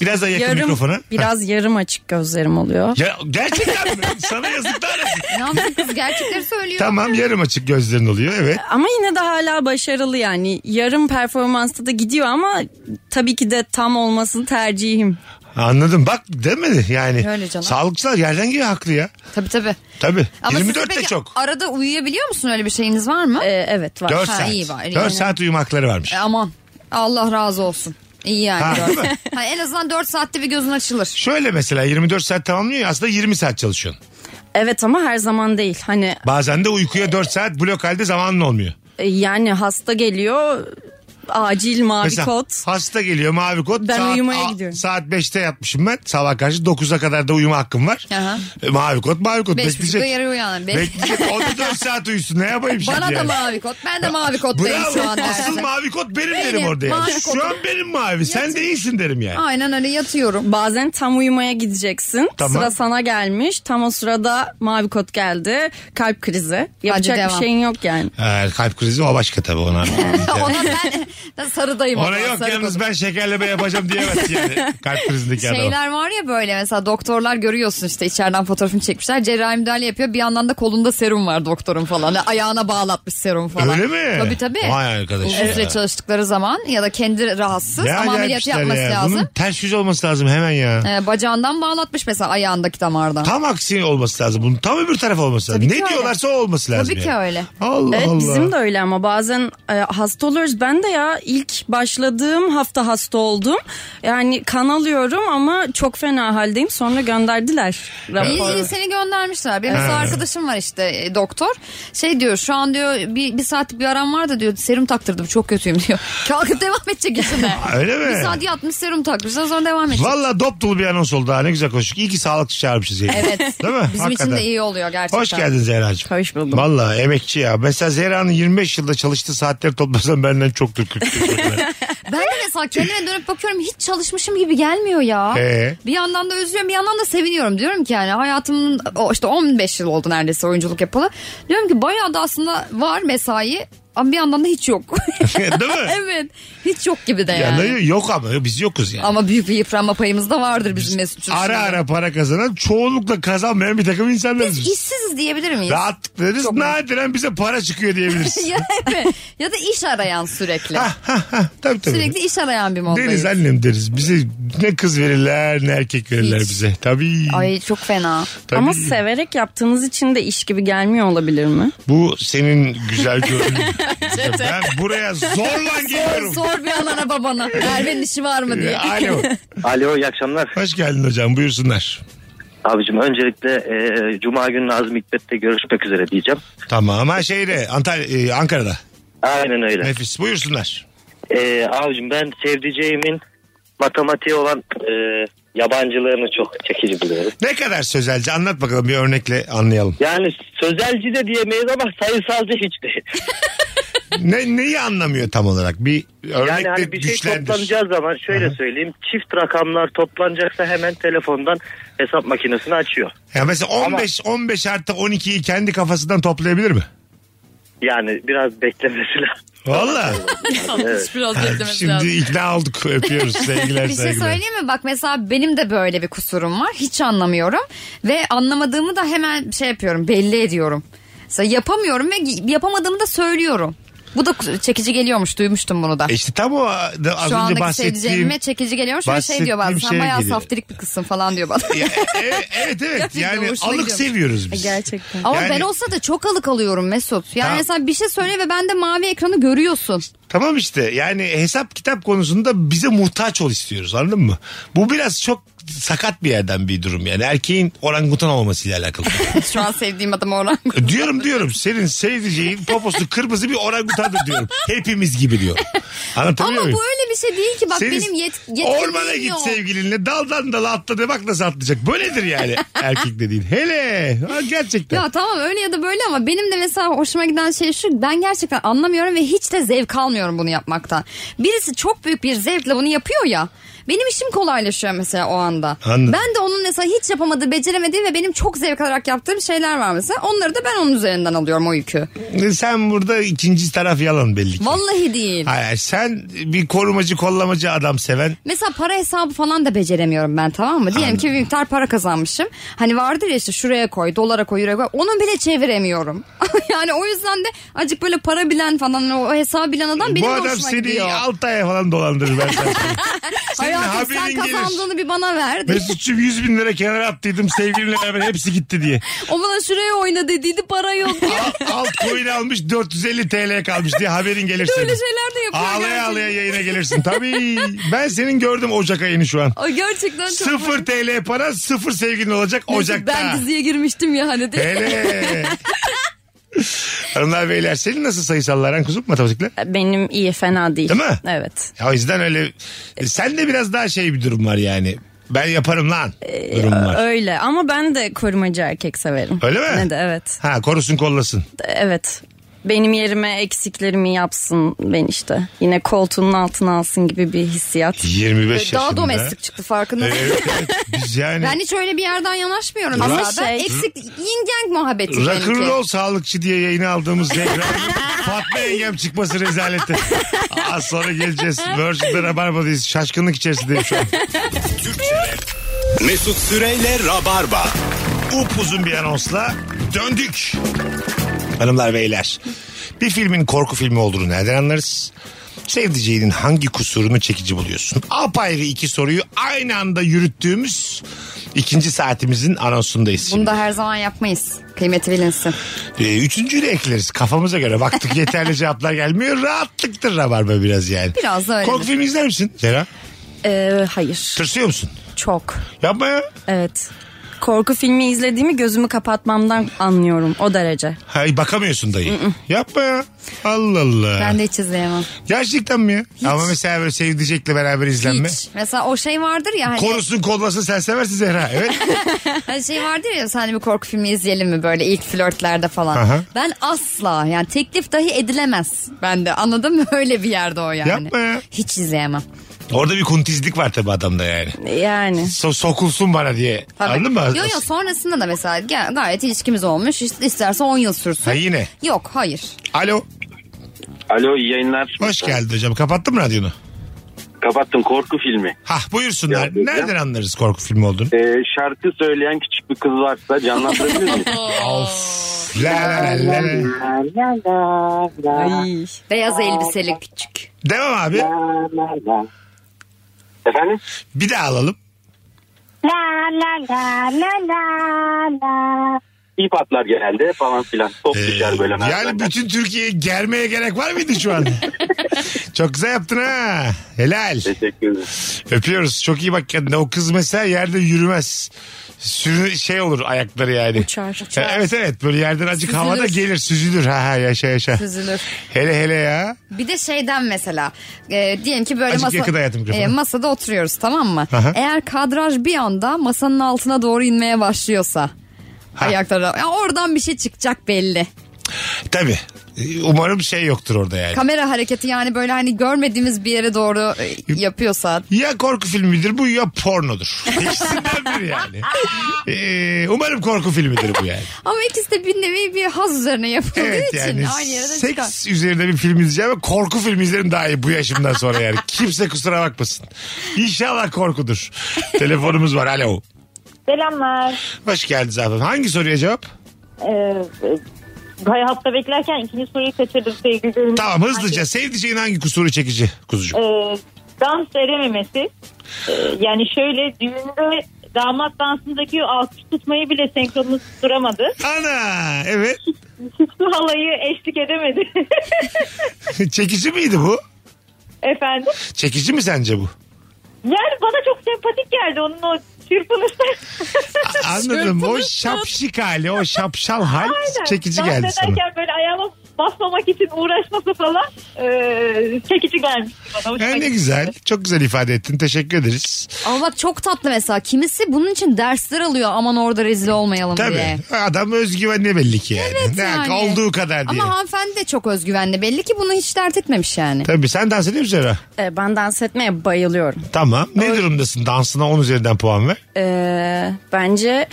Speaker 1: biraz daha yakın
Speaker 3: yarım
Speaker 1: mikrofona?
Speaker 3: biraz yarım açık gözlerim oluyor.
Speaker 1: Ya, gerçekten mi? Sana yazıklar olsun.
Speaker 2: Ne yapsın kız gerçekleri söylüyor.
Speaker 1: Tamam yarım açık gözlerin oluyor evet.
Speaker 3: Ama yine de hala başarılı yani. Yarım performansta da gidiyor ama tabii ki de tam olmasını tercihim.
Speaker 1: Anladım bak demedi yani.
Speaker 2: Öyle canım.
Speaker 1: Sağlıkçılar yerden geliyor haklı ya.
Speaker 2: Tabii tabii.
Speaker 1: Tabii.
Speaker 2: Ama
Speaker 1: 24
Speaker 2: siz
Speaker 1: de
Speaker 2: peki
Speaker 1: çok.
Speaker 2: Arada uyuyabiliyor musun öyle bir şeyiniz var mı?
Speaker 3: E, evet var.
Speaker 1: 4
Speaker 2: Ha,
Speaker 1: saat.
Speaker 2: iyi var, iyi.
Speaker 1: 4 saat uyuma hakları varmış.
Speaker 2: E, aman Allah razı olsun. İyi yani.
Speaker 1: Ha,
Speaker 2: dört.
Speaker 1: değil mi?
Speaker 2: Ha, en azından 4 saatte bir gözün açılır.
Speaker 1: Şöyle mesela 24 saat tamamlıyor ya aslında 20 saat çalışıyorsun.
Speaker 3: Evet ama her zaman değil. Hani
Speaker 1: Bazen de uykuya 4 saat blok halde zamanın olmuyor.
Speaker 3: e, yani hasta geliyor acil mavi
Speaker 1: Mesela
Speaker 3: kot.
Speaker 1: hasta geliyor mavi kot.
Speaker 3: Ben
Speaker 1: saat,
Speaker 3: uyumaya
Speaker 1: a-
Speaker 3: gidiyorum.
Speaker 1: Saat 5'te yatmışım ben. Sabah karşı 9'a kadar da uyuma hakkım var.
Speaker 2: Aha.
Speaker 1: E, mavi kot mavi kot.
Speaker 2: Beş
Speaker 1: Bekleyecek.
Speaker 2: buçukta yarı uyanan. Beş-
Speaker 1: Bekleyecek. O da 4 saat uyusun. Ne yapayım şimdi
Speaker 2: Bana da
Speaker 1: yani?
Speaker 2: mavi kot. Ben de mavi kottayım
Speaker 1: Bravo.
Speaker 2: şu an.
Speaker 1: Asıl
Speaker 2: derse.
Speaker 1: mavi kot benim, derim
Speaker 2: Benim,
Speaker 1: orada yani.
Speaker 2: mavi
Speaker 1: Şu
Speaker 2: kotum.
Speaker 1: an benim mavi. Sen değilsin derim yani.
Speaker 2: Aynen öyle yatıyorum.
Speaker 3: Bazen tam uyumaya gideceksin.
Speaker 1: Tamam.
Speaker 3: Sıra sana gelmiş. Tam o sırada mavi kot geldi. Kalp krizi. Yapacak
Speaker 2: devam.
Speaker 3: bir şeyin yok yani.
Speaker 1: Ha, kalp krizi o başka tabii ona.
Speaker 2: Ona ben, ben sarıdayım. o
Speaker 1: ona
Speaker 2: zaman,
Speaker 1: yok
Speaker 2: sarı
Speaker 1: yalnız
Speaker 2: kotum.
Speaker 1: ben şekerleme yapacağım diyemez yani. Kalp krizindeki adama.
Speaker 2: Şeyler var ya böyle mesela doktorlar görüyorsun işte içeriden fotoğrafını çekmişler. Cerrahi müdahale yapıyor. Bir yandan da kolunda serum var doktorun falan. Ayağına bağlatmış serum falan.
Speaker 1: Öyle mi?
Speaker 2: Tabii tabii.
Speaker 1: Vay arkadaş
Speaker 2: Uzun
Speaker 1: ya.
Speaker 2: süre çalıştıkları zaman ya da kendi rahatsız
Speaker 1: Ne
Speaker 2: ama ameliyat
Speaker 1: acayip işler
Speaker 2: yapması
Speaker 1: ya.
Speaker 2: lazım.
Speaker 1: Bunun ters yüz olması lazım hemen ya.
Speaker 2: Ee, bacağından bağlatmış mesela ayağındaki damardan.
Speaker 1: Tam aksi olması lazım. Bunun tam öbür taraf olması lazım.
Speaker 2: Tabii
Speaker 1: ne
Speaker 2: ki öyle.
Speaker 1: diyorlarsa o olması lazım.
Speaker 2: Tabii ki
Speaker 1: yani.
Speaker 2: öyle.
Speaker 1: Allah
Speaker 3: Evet
Speaker 1: Allah.
Speaker 3: bizim de öyle ama bazen e, hasta oluyoruz. Ben de ya hatta ilk başladığım hafta hasta oldum. Yani kan alıyorum ama çok fena haldeyim. Sonra gönderdiler
Speaker 1: E,
Speaker 2: İyi, iyi
Speaker 3: raporu.
Speaker 2: seni göndermişler. Benim mesela arkadaşım var işte e, doktor. Şey diyor şu an diyor bir, bir saatlik bir aram vardı diyor. Serum taktırdım çok kötüyüm diyor. Kalkıp devam edecek işine.
Speaker 1: Öyle mi?
Speaker 2: Bir saat yatmış serum takmışlar sonra devam edecek.
Speaker 1: Valla dop dolu bir anons oldu ha ne güzel konuştuk. İyi ki sağlıkçı çağırmışız yayına.
Speaker 2: Evet.
Speaker 1: Değil mi?
Speaker 2: Bizim
Speaker 1: Hakikaten.
Speaker 2: için de iyi oluyor gerçekten.
Speaker 1: Hoş geldin Zehra'cığım.
Speaker 3: Hoş buldum.
Speaker 1: Valla emekçi ya. Mesela Zehra'nın 25 yılda çalıştığı saatleri toplasam benden çoktur 40 yıl.
Speaker 2: Ben de mesela kendime dönüp bakıyorum hiç çalışmışım gibi gelmiyor ya.
Speaker 1: Ee?
Speaker 2: Bir yandan da üzülüyorum bir yandan da seviniyorum. Diyorum ki yani hayatımın o işte 15 yıl oldu neredeyse oyunculuk yapalı. Diyorum ki bayağı da aslında var mesai ama bir yandan da hiç yok.
Speaker 1: Değil mi?
Speaker 2: evet hiç yok gibi de yani.
Speaker 1: Yani yok ama biz yokuz yani.
Speaker 2: Ama büyük bir yıpranma payımız da vardır bizim Mesut'un.
Speaker 1: ara
Speaker 2: şimdi.
Speaker 1: ara para kazanan çoğunlukla kazanmayan bir takım insanlarız
Speaker 2: Biz
Speaker 1: biz.
Speaker 2: işsiziz diyebilir miyiz?
Speaker 1: Rahatlıklarız nadiren bize para çıkıyor diyebiliriz.
Speaker 2: ya, evet. ya da iş arayan sürekli.
Speaker 1: Ah, tabii tabii.
Speaker 2: sürekli iş arayan bir moddayız.
Speaker 1: Deriz annem deriz. Bize ne kız verirler ne erkek verirler
Speaker 2: Hiç.
Speaker 1: bize. Tabii.
Speaker 2: Ay çok fena.
Speaker 1: tabii.
Speaker 3: Ama severek yaptığınız için de iş gibi gelmiyor olabilir mi?
Speaker 1: Bu senin güzel görünüm. ben buraya zorla
Speaker 2: Sor,
Speaker 1: geliyorum.
Speaker 2: sor bir anana babana. Merve'nin işi var mı diye.
Speaker 1: Alo.
Speaker 8: Alo iyi akşamlar.
Speaker 1: Hoş geldin hocam buyursunlar.
Speaker 8: Abicim öncelikle e, Cuma günü Nazım Hikmet'te görüşmek üzere diyeceğim.
Speaker 1: Tamam ha şeyde Antalya, e, Ankara'da.
Speaker 8: Aynen öyle.
Speaker 1: Nefis buyursunlar.
Speaker 8: E, abicim ben sevdiceğimin matematiği olan e, yabancılarını çok çekici buluyorum.
Speaker 1: Ne kadar sözelci anlat bakalım bir örnekle anlayalım.
Speaker 8: Yani sözelci de diyemeyiz ama sayısalcı hiç değil.
Speaker 1: Ne, neyi anlamıyor tam olarak? Bir örnekle
Speaker 8: Yani hani bir şey
Speaker 1: güçlendir.
Speaker 8: toplanacağı zaman şöyle
Speaker 1: Aha.
Speaker 8: söyleyeyim. Çift rakamlar toplanacaksa hemen telefondan hesap makinesini açıyor.
Speaker 1: Ya mesela 15 15 artı 12'yi kendi kafasından toplayabilir mi?
Speaker 8: Yani biraz beklemesi lazım.
Speaker 1: Valla.
Speaker 9: Biraz beklemesi
Speaker 1: Şimdi
Speaker 9: lazım.
Speaker 1: ikna olduk. Öpüyoruz sevgiler
Speaker 2: Bir şey
Speaker 1: saygılar.
Speaker 2: söyleyeyim mi? Bak mesela benim de böyle bir kusurum var. Hiç anlamıyorum. Ve anlamadığımı da hemen şey yapıyorum. Belli ediyorum. Mesela yapamıyorum ve yapamadığımı da söylüyorum. Bu da ku- çekici geliyormuş. Duymuştum bunu da.
Speaker 1: E İşte tam o da az
Speaker 2: Şu
Speaker 1: önce
Speaker 2: andaki
Speaker 1: bahsettiğim.
Speaker 2: sevdiceğime çekici geliyormuş ve şey diyor bazen
Speaker 1: bahsettiğim
Speaker 2: sen
Speaker 1: şeye
Speaker 2: bayağı
Speaker 1: geliyor."
Speaker 2: saftirik bir kızsın falan diyor bana.
Speaker 1: Ya, e- evet evet
Speaker 2: Gerçekten
Speaker 1: yani
Speaker 2: hoşuma
Speaker 1: alık
Speaker 2: gidiyormuş.
Speaker 1: seviyoruz biz.
Speaker 3: E, Gerçekten.
Speaker 2: Ama
Speaker 1: Yani-
Speaker 2: ben olsa da çok alık alıyorum Mesut. Yani
Speaker 1: Tamam.
Speaker 2: mesela bir şey söyle ve ben de mavi ekranı görüyorsun.
Speaker 1: Tamam işte yani hesap kitap konusunda bize muhtaç ol istiyoruz anladın mı? Bu biraz çok sakat bir yerden bir durum yani erkeğin orangutan olmasıyla alakalı.
Speaker 2: Şu an sevdiğim adam oran.
Speaker 1: diyorum diyorum senin sevdiceğin poposu kırmızı bir orangutandır diyorum. Hepimiz gibi diyor. Anlatabiliyor
Speaker 2: Ama
Speaker 1: muyum?
Speaker 2: bu öyle bir şey değil ki. Bak
Speaker 1: Senin
Speaker 2: benim yet yetkinliğim
Speaker 1: Ormana git
Speaker 2: yok.
Speaker 1: sevgilinle daldan dala atladı bak nasıl atlayacak. Böyledir yani erkek dediğin. Hele ha, gerçekten.
Speaker 2: Ya tamam öyle ya da böyle ama benim de mesela hoşuma giden şey şu ben gerçekten anlamıyorum ve hiç de zevk almıyorum bunu yapmaktan. Birisi çok büyük bir zevkle bunu yapıyor ya. Benim işim kolaylaşıyor mesela o anda.
Speaker 1: Anladım.
Speaker 2: Ben de onun mesela hiç yapamadığı, beceremediği ve benim çok zevk alarak yaptığım şeyler var mesela. Onları da ben onun üzerinden alıyorum o yükü.
Speaker 1: Sen burada ikinci taraf yalan belli ki.
Speaker 2: Vallahi değil.
Speaker 1: Hayır, hayır, sen bir korumacı kollamacı adam seven
Speaker 2: Mesela para hesabı falan da beceremiyorum ben tamam mı? Diyelim ki bir miktar para kazanmışım. Hani vardır ya işte şuraya koy, dolara koy, euroya koy. Onu bile çeviremiyorum. yani o yüzden de acık böyle para bilen falan o hesabı bilen adam benim
Speaker 1: bu
Speaker 2: de
Speaker 1: adam
Speaker 2: hoşuma
Speaker 1: seni
Speaker 2: gidiyor.
Speaker 1: 6 aya falan dolandırır ben sana söyleyeyim. Senin
Speaker 2: Hayatım sen
Speaker 1: haberin gelir.
Speaker 2: kazandığını bir bana ver. de.
Speaker 1: Mesut'cum 100 bin lira kenara attıydım sevgilimle beraber hepsi gitti diye.
Speaker 2: o bana şuraya oyna dediydi para yok.
Speaker 1: Alt coin almış 450 TL kalmış diye haberin gelir senin.
Speaker 2: Böyle şeyler de yapıyor
Speaker 1: Ağlaya
Speaker 2: gerçekten.
Speaker 1: ağlaya yayına gelirsin. Tabii ben senin gördüm Ocak ayını şu an.
Speaker 2: Ay gerçekten çok...
Speaker 1: Sıfır TL para sıfır sevgilin olacak Ocak'ta.
Speaker 2: Ben diziye girmiştim ya hani de.
Speaker 1: Hele. Hanımlar beyler senin nasıl sayısallar aran kuzum matematikle?
Speaker 3: E, Benim iyi fena değil.
Speaker 1: Değil mi?
Speaker 3: Evet.
Speaker 1: Ya o yüzden öyle
Speaker 2: E,
Speaker 1: sen de biraz daha şey bir durum var yani. Ben yaparım lan
Speaker 2: E,
Speaker 1: durum var.
Speaker 3: Öyle ama ben de korumacı erkek severim.
Speaker 1: Öyle mi?
Speaker 3: Ne de evet.
Speaker 1: Ha korusun kollasın.
Speaker 3: Evet. Benim yerime eksiklerimi yapsın ben işte. Yine koltuğunun altına alsın gibi bir hissiyat.
Speaker 1: 25 yaşında. E,
Speaker 2: Daha domestik çıktı farkında.
Speaker 1: Evet, evet. Biz yani
Speaker 2: Ben hiç öyle bir yerden yanaşmıyorum.
Speaker 3: Ama
Speaker 2: zaten.
Speaker 3: şey-
Speaker 2: Eksik yin yang muhabbeti benimki.
Speaker 1: rock'n'roll sağlıkçı diye yayına aldığımız Zehra Fatma yengem çıkması rezaleti. Az sonra geleceğiz. Virgin'de Rabarba'dayız. Şaşkınlık içerisindeyim şu an.
Speaker 7: Mesut Süreyle Rabarba.
Speaker 1: upuzun bir anonsla döndük. Hanımlar beyler bir filmin korku filmi olduğunu nereden anlarız? Sevdiceğinin hangi kusurunu çekici buluyorsun? Apayrı iki soruyu aynı anda yürüttüğümüz İkinci saatimizin anonsundayız
Speaker 2: Bunu
Speaker 1: şimdi.
Speaker 2: da her zaman yapmayız. Kıymeti bilinsin.
Speaker 1: Ee, üçüncüyü de ekleriz kafamıza göre. Baktık yeterli cevaplar gelmiyor. Rahatlıktır rabarba biraz yani.
Speaker 2: Biraz da öyle.
Speaker 1: Korku filmi izler misin Zera?
Speaker 3: Ee, hayır.
Speaker 1: Tırsıyor musun?
Speaker 3: Çok.
Speaker 1: Yapma ya.
Speaker 3: Evet. Korku filmi izlediğimi gözümü kapatmamdan anlıyorum o derece.
Speaker 1: Hay bakamıyorsun dayı. Yapma ya. Allah Allah.
Speaker 2: Ben de hiç izleyemem.
Speaker 1: Gerçekten mi ya? Ama mesela böyle sevdicekle beraber izlenme.
Speaker 2: Hiç. Mesela o şey vardır ya hani
Speaker 1: Korusun kollasın sen seversin Zehra. Evet.
Speaker 2: Hani şey vardır ya sen bir korku filmi izleyelim mi böyle ilk flörtlerde falan.
Speaker 1: Aha.
Speaker 2: Ben asla yani teklif dahi edilemez. Ben de anladın mı? Öyle bir yerde o yani.
Speaker 1: Yapma ya.
Speaker 2: Hiç izleyemem.
Speaker 1: Orada bir kuntizlik var tabii adamda yani.
Speaker 3: Yani.
Speaker 1: So- sokulsun bana diye.
Speaker 2: Tabii.
Speaker 1: Anladın mı?
Speaker 2: Yok yok sonrasında da mesela ga- gayet ilişkimiz olmuş. İşte isterse 10 yıl sürsün.
Speaker 1: Ha yine.
Speaker 2: Yok hayır.
Speaker 1: Alo.
Speaker 8: Alo iyi yayınlar.
Speaker 1: Hoş geldin hocam. Kapattın mı radyonu?
Speaker 8: Kapattım korku filmi.
Speaker 1: Hah buyursunlar.
Speaker 8: Ya, ya.
Speaker 1: Nereden anlarız korku filmi olduğunu?
Speaker 8: Ee, şarkı söyleyen küçük bir kız varsa canlandırabilir miyim?
Speaker 1: La la la la la.
Speaker 3: Ay.
Speaker 2: Beyaz elbiseli küçük.
Speaker 1: Devam abi.
Speaker 8: Efendim?
Speaker 1: Bir daha alalım.
Speaker 8: İyi patlar genelde falan filan. Top
Speaker 1: Ee,
Speaker 8: düşer böyle.
Speaker 1: yani
Speaker 8: merdivenden.
Speaker 1: bütün Türkiye'ye germeye gerek var mıydı şu an? Çok güzel yaptın ha. Helal.
Speaker 8: Teşekkür ederim.
Speaker 1: Öpüyoruz. Çok iyi bak kendine. O kız mesela yerde yürümez. Sürü şey olur ayakları yani.
Speaker 3: Uçar.
Speaker 1: Yani evet evet böyle yerden acık
Speaker 2: Süzülür.
Speaker 1: havada gelir süzülür. Ha ha yaşa yaşa.
Speaker 2: Üzülür.
Speaker 1: Hele hele ya.
Speaker 2: Bir de şeyden mesela e, diyelim ki böyle
Speaker 1: Azıcık yakın hayatım mikrofonu.
Speaker 2: e, masada oturuyoruz tamam mı?
Speaker 1: Aha.
Speaker 2: Eğer kadraj bir anda masanın altına doğru inmeye başlıyorsa
Speaker 1: Ha.
Speaker 2: ayakları ya oradan bir şey çıkacak belli.
Speaker 1: Tabii. Umarım şey yoktur orada yani.
Speaker 2: Kamera hareketi yani böyle hani görmediğimiz bir yere doğru e, yapıyorsa
Speaker 1: Ya korku filmidir bu ya pornodur. İkisinden biri yani. Ee, umarım korku filmidir bu yani.
Speaker 2: ama ikisi de bir nevi bir haz üzerine yapıldığı
Speaker 1: Evet
Speaker 2: için
Speaker 1: yani
Speaker 2: aynı yere de çıkar.
Speaker 1: seks üzerinde bir film izleyeceğim ama korku filmi izlerim daha iyi bu yaşımdan sonra yani. Kimse kusura bakmasın. İnşallah korkudur. Telefonumuz var alo.
Speaker 6: Selamlar.
Speaker 1: Hoş geldiniz abi. Hangi soruya cevap?
Speaker 6: Ee, hayatta beklerken ikinci soruyu kaçırdım sevgili
Speaker 1: Tamam hızlıca sevdiceğin hangi kusuru çekici kuzucuğum?
Speaker 6: e, dans verememesi. E, yani şöyle düğünde damat dansındaki o alkış tutmayı bile senkronunu tutturamadı.
Speaker 1: Ana evet.
Speaker 6: Süslü halayı eşlik edemedi.
Speaker 1: çekici miydi bu?
Speaker 6: Efendim.
Speaker 1: Çekici mi sence bu?
Speaker 6: Yani bana çok sempatik geldi onun o çırpınışı.
Speaker 1: A- Anladım. o şapşik hali, o şapşal hal
Speaker 6: Aynen.
Speaker 1: çekici
Speaker 6: Dans
Speaker 1: geldi sana.
Speaker 6: ederken böyle ayağıma basmamak için uğraşması falan e, çekici gelmişti bana. Hoşuma
Speaker 1: Ha, E, ne
Speaker 6: gitti.
Speaker 1: güzel. Çok güzel ifade ettin. Teşekkür ederiz.
Speaker 2: Ama bak çok tatlı mesela kimisi bunun için dersler alıyor aman orada rezil olmayalım diye.
Speaker 1: Tabii. Adam özgüvenli belli ki yani.
Speaker 2: Evet
Speaker 1: ne
Speaker 2: yani.
Speaker 1: olduğu kadar diye.
Speaker 2: Ama hanımefendi de çok özgüvenli belli ki bunu hiç dert etmemiş yani.
Speaker 1: Tabii sen dans ediyor musun Zehra?
Speaker 3: Ee, ben dans etmeye bayılıyorum.
Speaker 1: Tamam. Ne durumdasın? Dansına 10 üzerinden puan ver.
Speaker 3: Ee, bence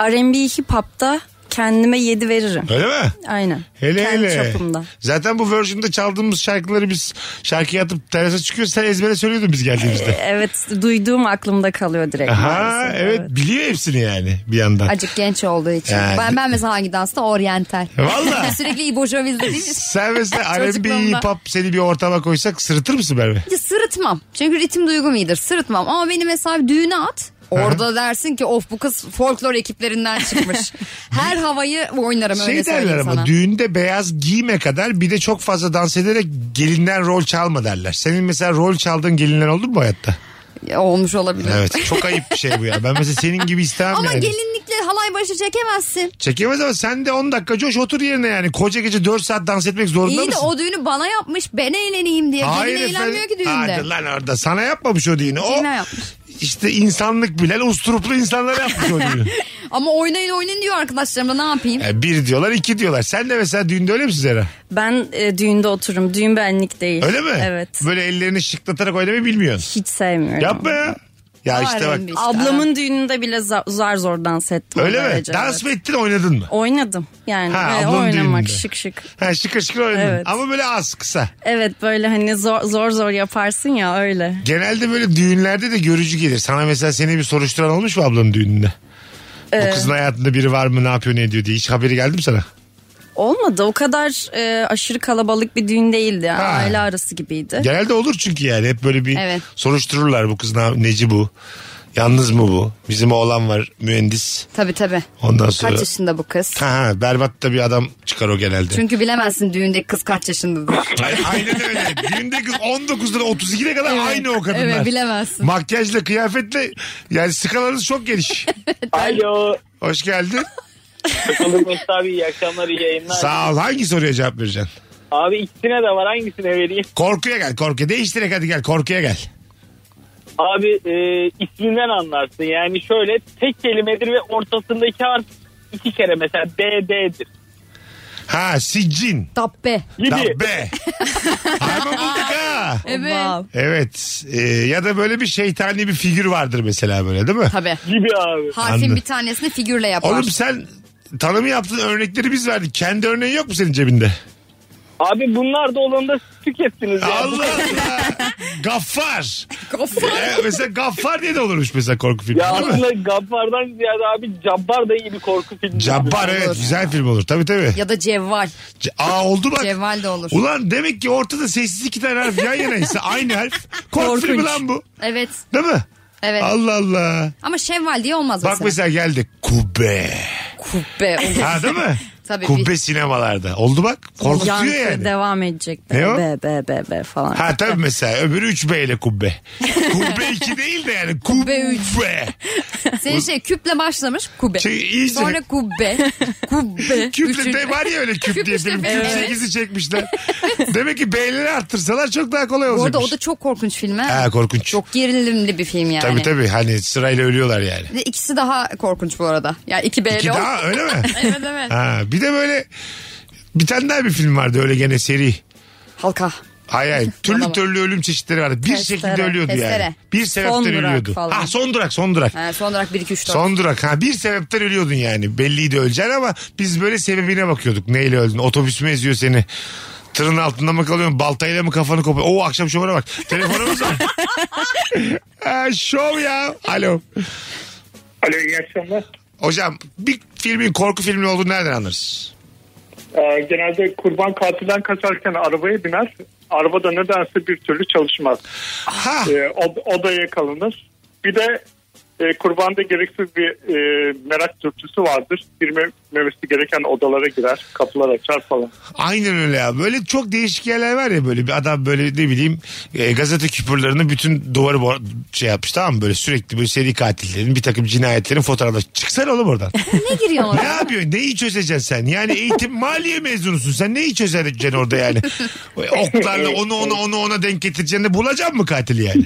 Speaker 3: R&B hip hop'ta kendime 7 veririm.
Speaker 1: Öyle mi?
Speaker 3: Aynen.
Speaker 1: Hele
Speaker 3: Kendi
Speaker 1: hele.
Speaker 3: çapımda.
Speaker 1: Zaten bu version'da çaldığımız şarkıları biz şarkıya atıp terasa çıkıyoruz. Sen ezbere söylüyordun biz geldiğimizde.
Speaker 3: Evet duyduğum aklımda kalıyor
Speaker 2: Ee,
Speaker 3: direkt.
Speaker 1: Aha
Speaker 3: maalesef.
Speaker 1: evet biliyor hepsini yani bir yandan.
Speaker 2: Acık genç olduğu için.
Speaker 1: Yani-
Speaker 2: Ben ben mesela hangi dansta? Oryantal.
Speaker 1: Valla.
Speaker 2: Sürekli İbo Jovi izlediğim için.
Speaker 1: Sen mesela R&B
Speaker 2: Çocukluğumda.
Speaker 1: hip hop seni bir ortama koysak sırıtır mısın Merve?
Speaker 2: Ya Sırıtmam. Çünkü ritim duygum iyidir. Sırıtmam. Ama beni mesela bir düğüne at. Orada dersin ki of bu kız folklor ekiplerinden çıkmış. Her havayı oynarım öyle
Speaker 1: Şey derler
Speaker 2: söyleyeyim
Speaker 1: ama
Speaker 2: sana.
Speaker 1: düğünde beyaz giyme kadar bir de çok fazla dans ederek gelinden rol çalma derler. Senin mesela rol çaldığın gelinler oldu mu bu hayatta?
Speaker 2: Ya, Olmuş olabilir.
Speaker 1: Evet çok ayıp bir şey bu ya. Ben mesela senin gibi istemem
Speaker 2: Ama
Speaker 1: yani.
Speaker 2: gelinlikle halay başı çekemezsin.
Speaker 1: Çekemez ama sen de 10 dakika coş otur yerine yani. Koca gece 4 saat dans etmek zorunda
Speaker 2: İyi de
Speaker 1: mısın?
Speaker 2: o düğünü bana yapmış. Ben eğleneyim diye. Gelin
Speaker 1: efendim.
Speaker 2: eğlenmiyor ki düğünde.
Speaker 1: Hadi lan orada. Sana yapmamış o düğünü. O
Speaker 2: Kime yapmış?
Speaker 1: işte insanlık bilen usturuplu insanlar yapmış o düğünü.
Speaker 2: Ama oynayın oynayın diyor arkadaşlarımla ne yapayım?
Speaker 1: Yani bir diyorlar iki diyorlar. Sen de mesela düğünde öyle misin Zera?
Speaker 3: Ben e, düğünde otururum. Düğün benlik değil.
Speaker 1: Öyle mi?
Speaker 3: Evet.
Speaker 1: Böyle ellerini şıklatarak oynamayı bilmiyorsun.
Speaker 3: Hiç sevmiyorum.
Speaker 1: Yapma ya. Ya
Speaker 2: Var
Speaker 1: işte bak.
Speaker 2: elinde işte.
Speaker 3: Ablamın düğününde bile za- zar zor dans ettim.
Speaker 1: Öyle
Speaker 3: o
Speaker 1: mi?
Speaker 3: derece,
Speaker 1: Dans
Speaker 3: şey. evet.
Speaker 1: mı ettin oynadın mı?
Speaker 3: Oynadım yani
Speaker 1: Ha,
Speaker 3: Ve
Speaker 1: ablanın
Speaker 3: oynamak
Speaker 1: düğününde.
Speaker 3: şık şık.
Speaker 1: Ha şıkır şıkır oynadın.
Speaker 3: Evet.
Speaker 1: Ama böyle az kısa.
Speaker 3: Evet böyle hani zor zor, zor yaparsın ya öyle.
Speaker 1: Genelde böyle düğünlerde de görücü gelir. Sana mesela seni bir soruşturan olmuş mu ablanın düğününde? Bu kızın hayatında biri var mı ne yapıyor ne ediyor diye. Hiç haberi geldi mi sana?
Speaker 3: Olmadı o kadar e, aşırı kalabalık bir düğün değildi. Yani.
Speaker 1: Ha.
Speaker 3: Aile arası gibiydi.
Speaker 1: Genelde olur çünkü yani. Hep böyle bir
Speaker 2: Evet.
Speaker 1: soruştururlar bu kız ne- neci bu. Yalnız mı bu? Bizim oğlan var mühendis.
Speaker 2: Tabii tabii.
Speaker 1: Ondan sonra.
Speaker 2: Kaç yaşında bu kız?
Speaker 1: Ha, ha, berbat da bir adam çıkar o genelde.
Speaker 2: Çünkü bilemezsin düğündeki kız kaç yaşındadır.
Speaker 1: Ay- Aynen öyle. Düğünde kız 19'dan 32'ye kadar aynı o kadınlar.
Speaker 2: Evet bilemezsin.
Speaker 1: Makyajla kıyafetle yani skalanız çok geniş.
Speaker 10: Alo.
Speaker 1: Hoş geldin.
Speaker 10: Olur Mesut abi iyi akşamlar iyi yayınlar.
Speaker 1: Sağ ol. Hangi soruya cevap vereceksin?
Speaker 10: Abi ikisine de var hangisine vereyim?
Speaker 1: Korkuya gel korkuya. Değiştirek hadi gel korkuya gel.
Speaker 10: Abi e, isminden anlarsın yani şöyle tek kelimedir ve ortasındaki harf iki kere mesela DD'dir.
Speaker 1: Ha siccin.
Speaker 2: Dabbe.
Speaker 1: Dabbe. Harbi bulduk ha.
Speaker 2: Evet.
Speaker 1: Evet. Ee, ya da böyle bir şeytani bir figür vardır mesela böyle değil mi?
Speaker 2: Tabii.
Speaker 10: Gibi abi.
Speaker 2: Harfin
Speaker 1: Anladım.
Speaker 2: bir tanesini figürle yapar.
Speaker 1: Oğlum sen tanımı yaptığın örnekleri biz verdik. Kendi örneğin yok mu senin cebinde?
Speaker 10: Abi bunlar da olanında tükettiniz yani.
Speaker 1: Allah Allah. Gaffar. Ee, mesela Gaffar diye de olurmuş mesela korku filmi
Speaker 10: Ya
Speaker 1: değil mi?
Speaker 10: aslında Gabbar'dan ziyade abi Cabbar da iyi bir korku filmi.
Speaker 1: Cabbar evet güzel film olur tabii tabii.
Speaker 2: Ya da cevval.
Speaker 1: C- Aa oldu bak.
Speaker 2: Cevval de olur.
Speaker 1: Ulan demek ki ortada sessiz iki tane harf yan yanaysa aynı harf. Korku filmi lan bu.
Speaker 2: Evet.
Speaker 1: Değil mi?
Speaker 2: Evet.
Speaker 1: Allah Allah.
Speaker 2: Ama şevval diye olmaz
Speaker 1: Bak
Speaker 2: mesela.
Speaker 1: mesela geldi kubbe.
Speaker 2: Kubbe olur.
Speaker 1: Ha değil mi?
Speaker 2: Tabii
Speaker 1: kubbe
Speaker 2: bir-
Speaker 1: sinemalarda. Oldu bak. Korkutuyor
Speaker 3: Yankı
Speaker 1: yani.
Speaker 3: devam edecek.
Speaker 1: Ne o?
Speaker 3: Be, be, be, be, be falan.
Speaker 1: Ha tabii mesela öbürü 3B ile kubbe. kubbe 2 değil de yani
Speaker 2: Kubbe
Speaker 1: kubbe.
Speaker 2: üç. Senin şey küple başlamış kubbe.
Speaker 1: Şey, iyice-
Speaker 2: Sonra kubbe. Kubbe.
Speaker 1: Küple
Speaker 2: Üçüncü-
Speaker 1: de var ya öyle küp diye
Speaker 2: işte,
Speaker 1: film. Küp
Speaker 2: evet.
Speaker 1: 8'i şey çekmişler. Demek ki B'leri arttırsalar çok daha kolay
Speaker 2: Bu
Speaker 1: olacak.
Speaker 2: arada o da çok korkunç film. ha.
Speaker 1: Ha, korkunç.
Speaker 2: Çok gerilimli bir film yani.
Speaker 1: Tabii tabii hani sırayla ölüyorlar yani.
Speaker 2: Ve İkisi daha korkunç bu arada. Yani iki B'li
Speaker 1: İki
Speaker 2: ol-
Speaker 1: daha öyle mi?
Speaker 2: evet evet.
Speaker 1: Ha, bir de böyle bir tane daha bir film vardı öyle gene seri.
Speaker 2: Halka.
Speaker 1: Hayır hayır. Türlü
Speaker 2: Tamam.
Speaker 1: türlü ölüm çeşitleri vardı. Bir
Speaker 3: Testere,
Speaker 1: şekilde ölüyordu yani.
Speaker 2: testere.
Speaker 1: Bir sebepten
Speaker 3: Son durak
Speaker 1: ölüyordu.
Speaker 3: falan.
Speaker 1: Ha son durak son durak.
Speaker 2: Ha, son olarak 1 2 3 4.
Speaker 1: Son durak ha bir sebepten ölüyordun yani belliydi öleceğin ama biz böyle sebebine bakıyorduk neyle öldün otobüs mü eziyor seni tırın altında mı kalıyorsun baltayla mı kafanı kopuyor Oo akşam şovuna bak telefonumuz var Ha, şov ya alo
Speaker 4: Alo iyi akşamlar.
Speaker 1: hocam bir filmin korku filmi olduğunu nereden anlarız
Speaker 4: Ee, genelde kurban katilden kaçarken arabaya biner. Arabada nedense bir türlü çalışmaz.
Speaker 1: ha
Speaker 4: Ee, od- odaya kalınır. Bir de e, kurbanda gereksiz bir e, merak dürtüsü vardır. Girmemesi gereken odalara girer. Kapılar açar falan.
Speaker 1: aynen öyle ya böyle çok değişik yerler var ya böyle bir adam böyle ne bileyim e, gazete küpürlerini bütün duvarı bo- şey yapmış tamam mı böyle sürekli böyle seri katillerin bir takım cinayetlerin fotoğrafları çıksana oğlum oradan
Speaker 2: Ne giriyor
Speaker 1: Ne
Speaker 2: oraya?
Speaker 1: yapıyorsun? Neyi çözeceksin sen? Yani eğitim maliye mezunusun. Sen neyi çözeceksin orada yani? Oklarla onu ona onu ona denk getireceğini bulacaksın mı katili yani?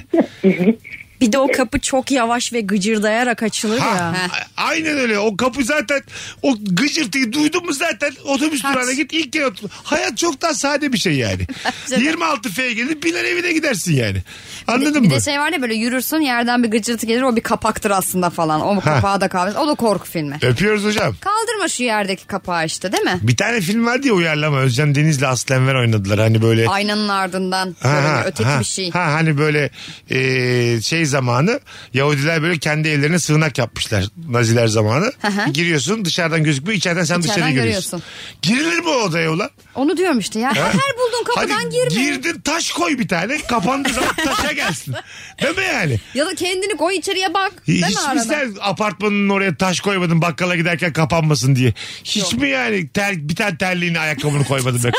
Speaker 3: Bir de o kapı çok yavaş ve gıcırdayarak açılır
Speaker 1: Ha,
Speaker 3: ya.
Speaker 1: a- aynen öyle. O kapı zaten o gıcırtıyı duydun mu zaten otobüs durağına git ilk kere otur. Hayat çok daha sade bir şey yani. 26 F'ye gelip biner evine gidersin yani. Anladın
Speaker 2: bir
Speaker 1: mı?
Speaker 2: de şey var ya böyle yürürsün yerden bir gıcırtı gelir o bir kapaktır aslında falan. O kapağı da kalmış. O da korku filmi.
Speaker 1: Öpüyoruz hocam.
Speaker 2: Kaldırma şu yerdeki kapağı işte değil mi?
Speaker 1: Bir tane film vardı ya uyarlama. Özcan Deniz'le Aslı Enver oynadılar. Hani böyle
Speaker 2: Aynanın ardından
Speaker 1: Ha,
Speaker 2: böyle
Speaker 1: ha,
Speaker 2: öteki
Speaker 1: ha,
Speaker 2: bir şey.
Speaker 1: Ha, hani böyle e, şey zamanı Yahudiler böyle kendi evlerine sığınak yapmışlar Naziler zamanı.
Speaker 2: hı.
Speaker 1: Giriyorsun dışarıdan gözükmüyor içeriden sen
Speaker 2: İçeriden
Speaker 1: dışarıyı görüyorsun. Girilir mi o odaya ulan?
Speaker 2: Onu diyorum işte ya. Her bulduğun kapıdan
Speaker 1: Hadi
Speaker 2: girme.
Speaker 1: girdin taş koy bir tane kapandığı zaman taşa gelsin. Değil mi yani?
Speaker 2: Ya da kendini koy içeriye bak. Değil
Speaker 1: Hiç
Speaker 2: mi
Speaker 1: mi
Speaker 2: arada?
Speaker 1: sen apartmanın oraya taş koymadın bakkala giderken kapanmasın diye? Hiç mi yani ter, bir tane terliğini ayakkabını koymadın? be?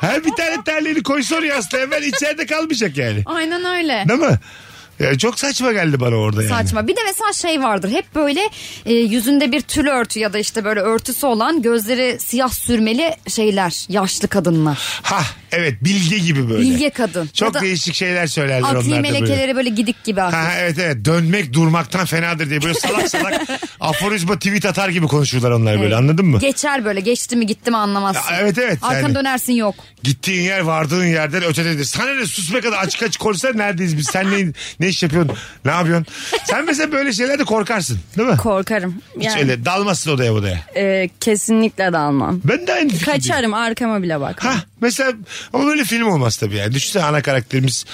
Speaker 1: Her bir tane terliğini koysun yasla hemen içeride kalmayacak yani.
Speaker 2: Aynen öyle.
Speaker 1: Değil mi? Yani çok saçma geldi bana orada yani.
Speaker 2: Saçma. Bir de mesela şey vardır. Hep böyle e, yüzünde bir tül örtü ya da işte böyle örtüsü olan gözleri siyah sürmeli şeyler. Yaşlı kadınlar.
Speaker 1: Ha evet bilge gibi böyle.
Speaker 2: Bilge kadın.
Speaker 1: Çok
Speaker 2: ya da
Speaker 1: değişik şeyler söylerler
Speaker 2: akli
Speaker 1: onlar da böyle.
Speaker 2: melekeleri böyle gidik gibi.
Speaker 1: Ha,
Speaker 2: aklı.
Speaker 1: ha, evet evet dönmek durmaktan fenadır diye böyle salak salak aforizma tweet atar gibi konuşurlar onlar böyle anladın mı?
Speaker 2: Geçer böyle. Geçti mi gitti mi anlamazsın.
Speaker 1: Ya, evet, evet,
Speaker 2: Arkanı
Speaker 1: yani.
Speaker 2: dönersin yok.
Speaker 1: Gittiğin yer vardığın yerden ötededir. Sana ne sus be kadar açık açık konuşsana neredeyiz biz sen ne, ne iş yapıyorsun ne yapıyorsun? Sen mesela böyle şeylerde korkarsın değil mi?
Speaker 3: Korkarım.
Speaker 1: Hiç
Speaker 3: Yani,
Speaker 1: öyle dalmasın odaya odaya.
Speaker 3: e, kesinlikle dalmam.
Speaker 1: Ben de aynı fikirdeyim.
Speaker 3: Kaçarım arkama bile bak.
Speaker 1: şey Ha mesela ama böyle film olmaz tabii yani. Düşünsene ana karakterimiz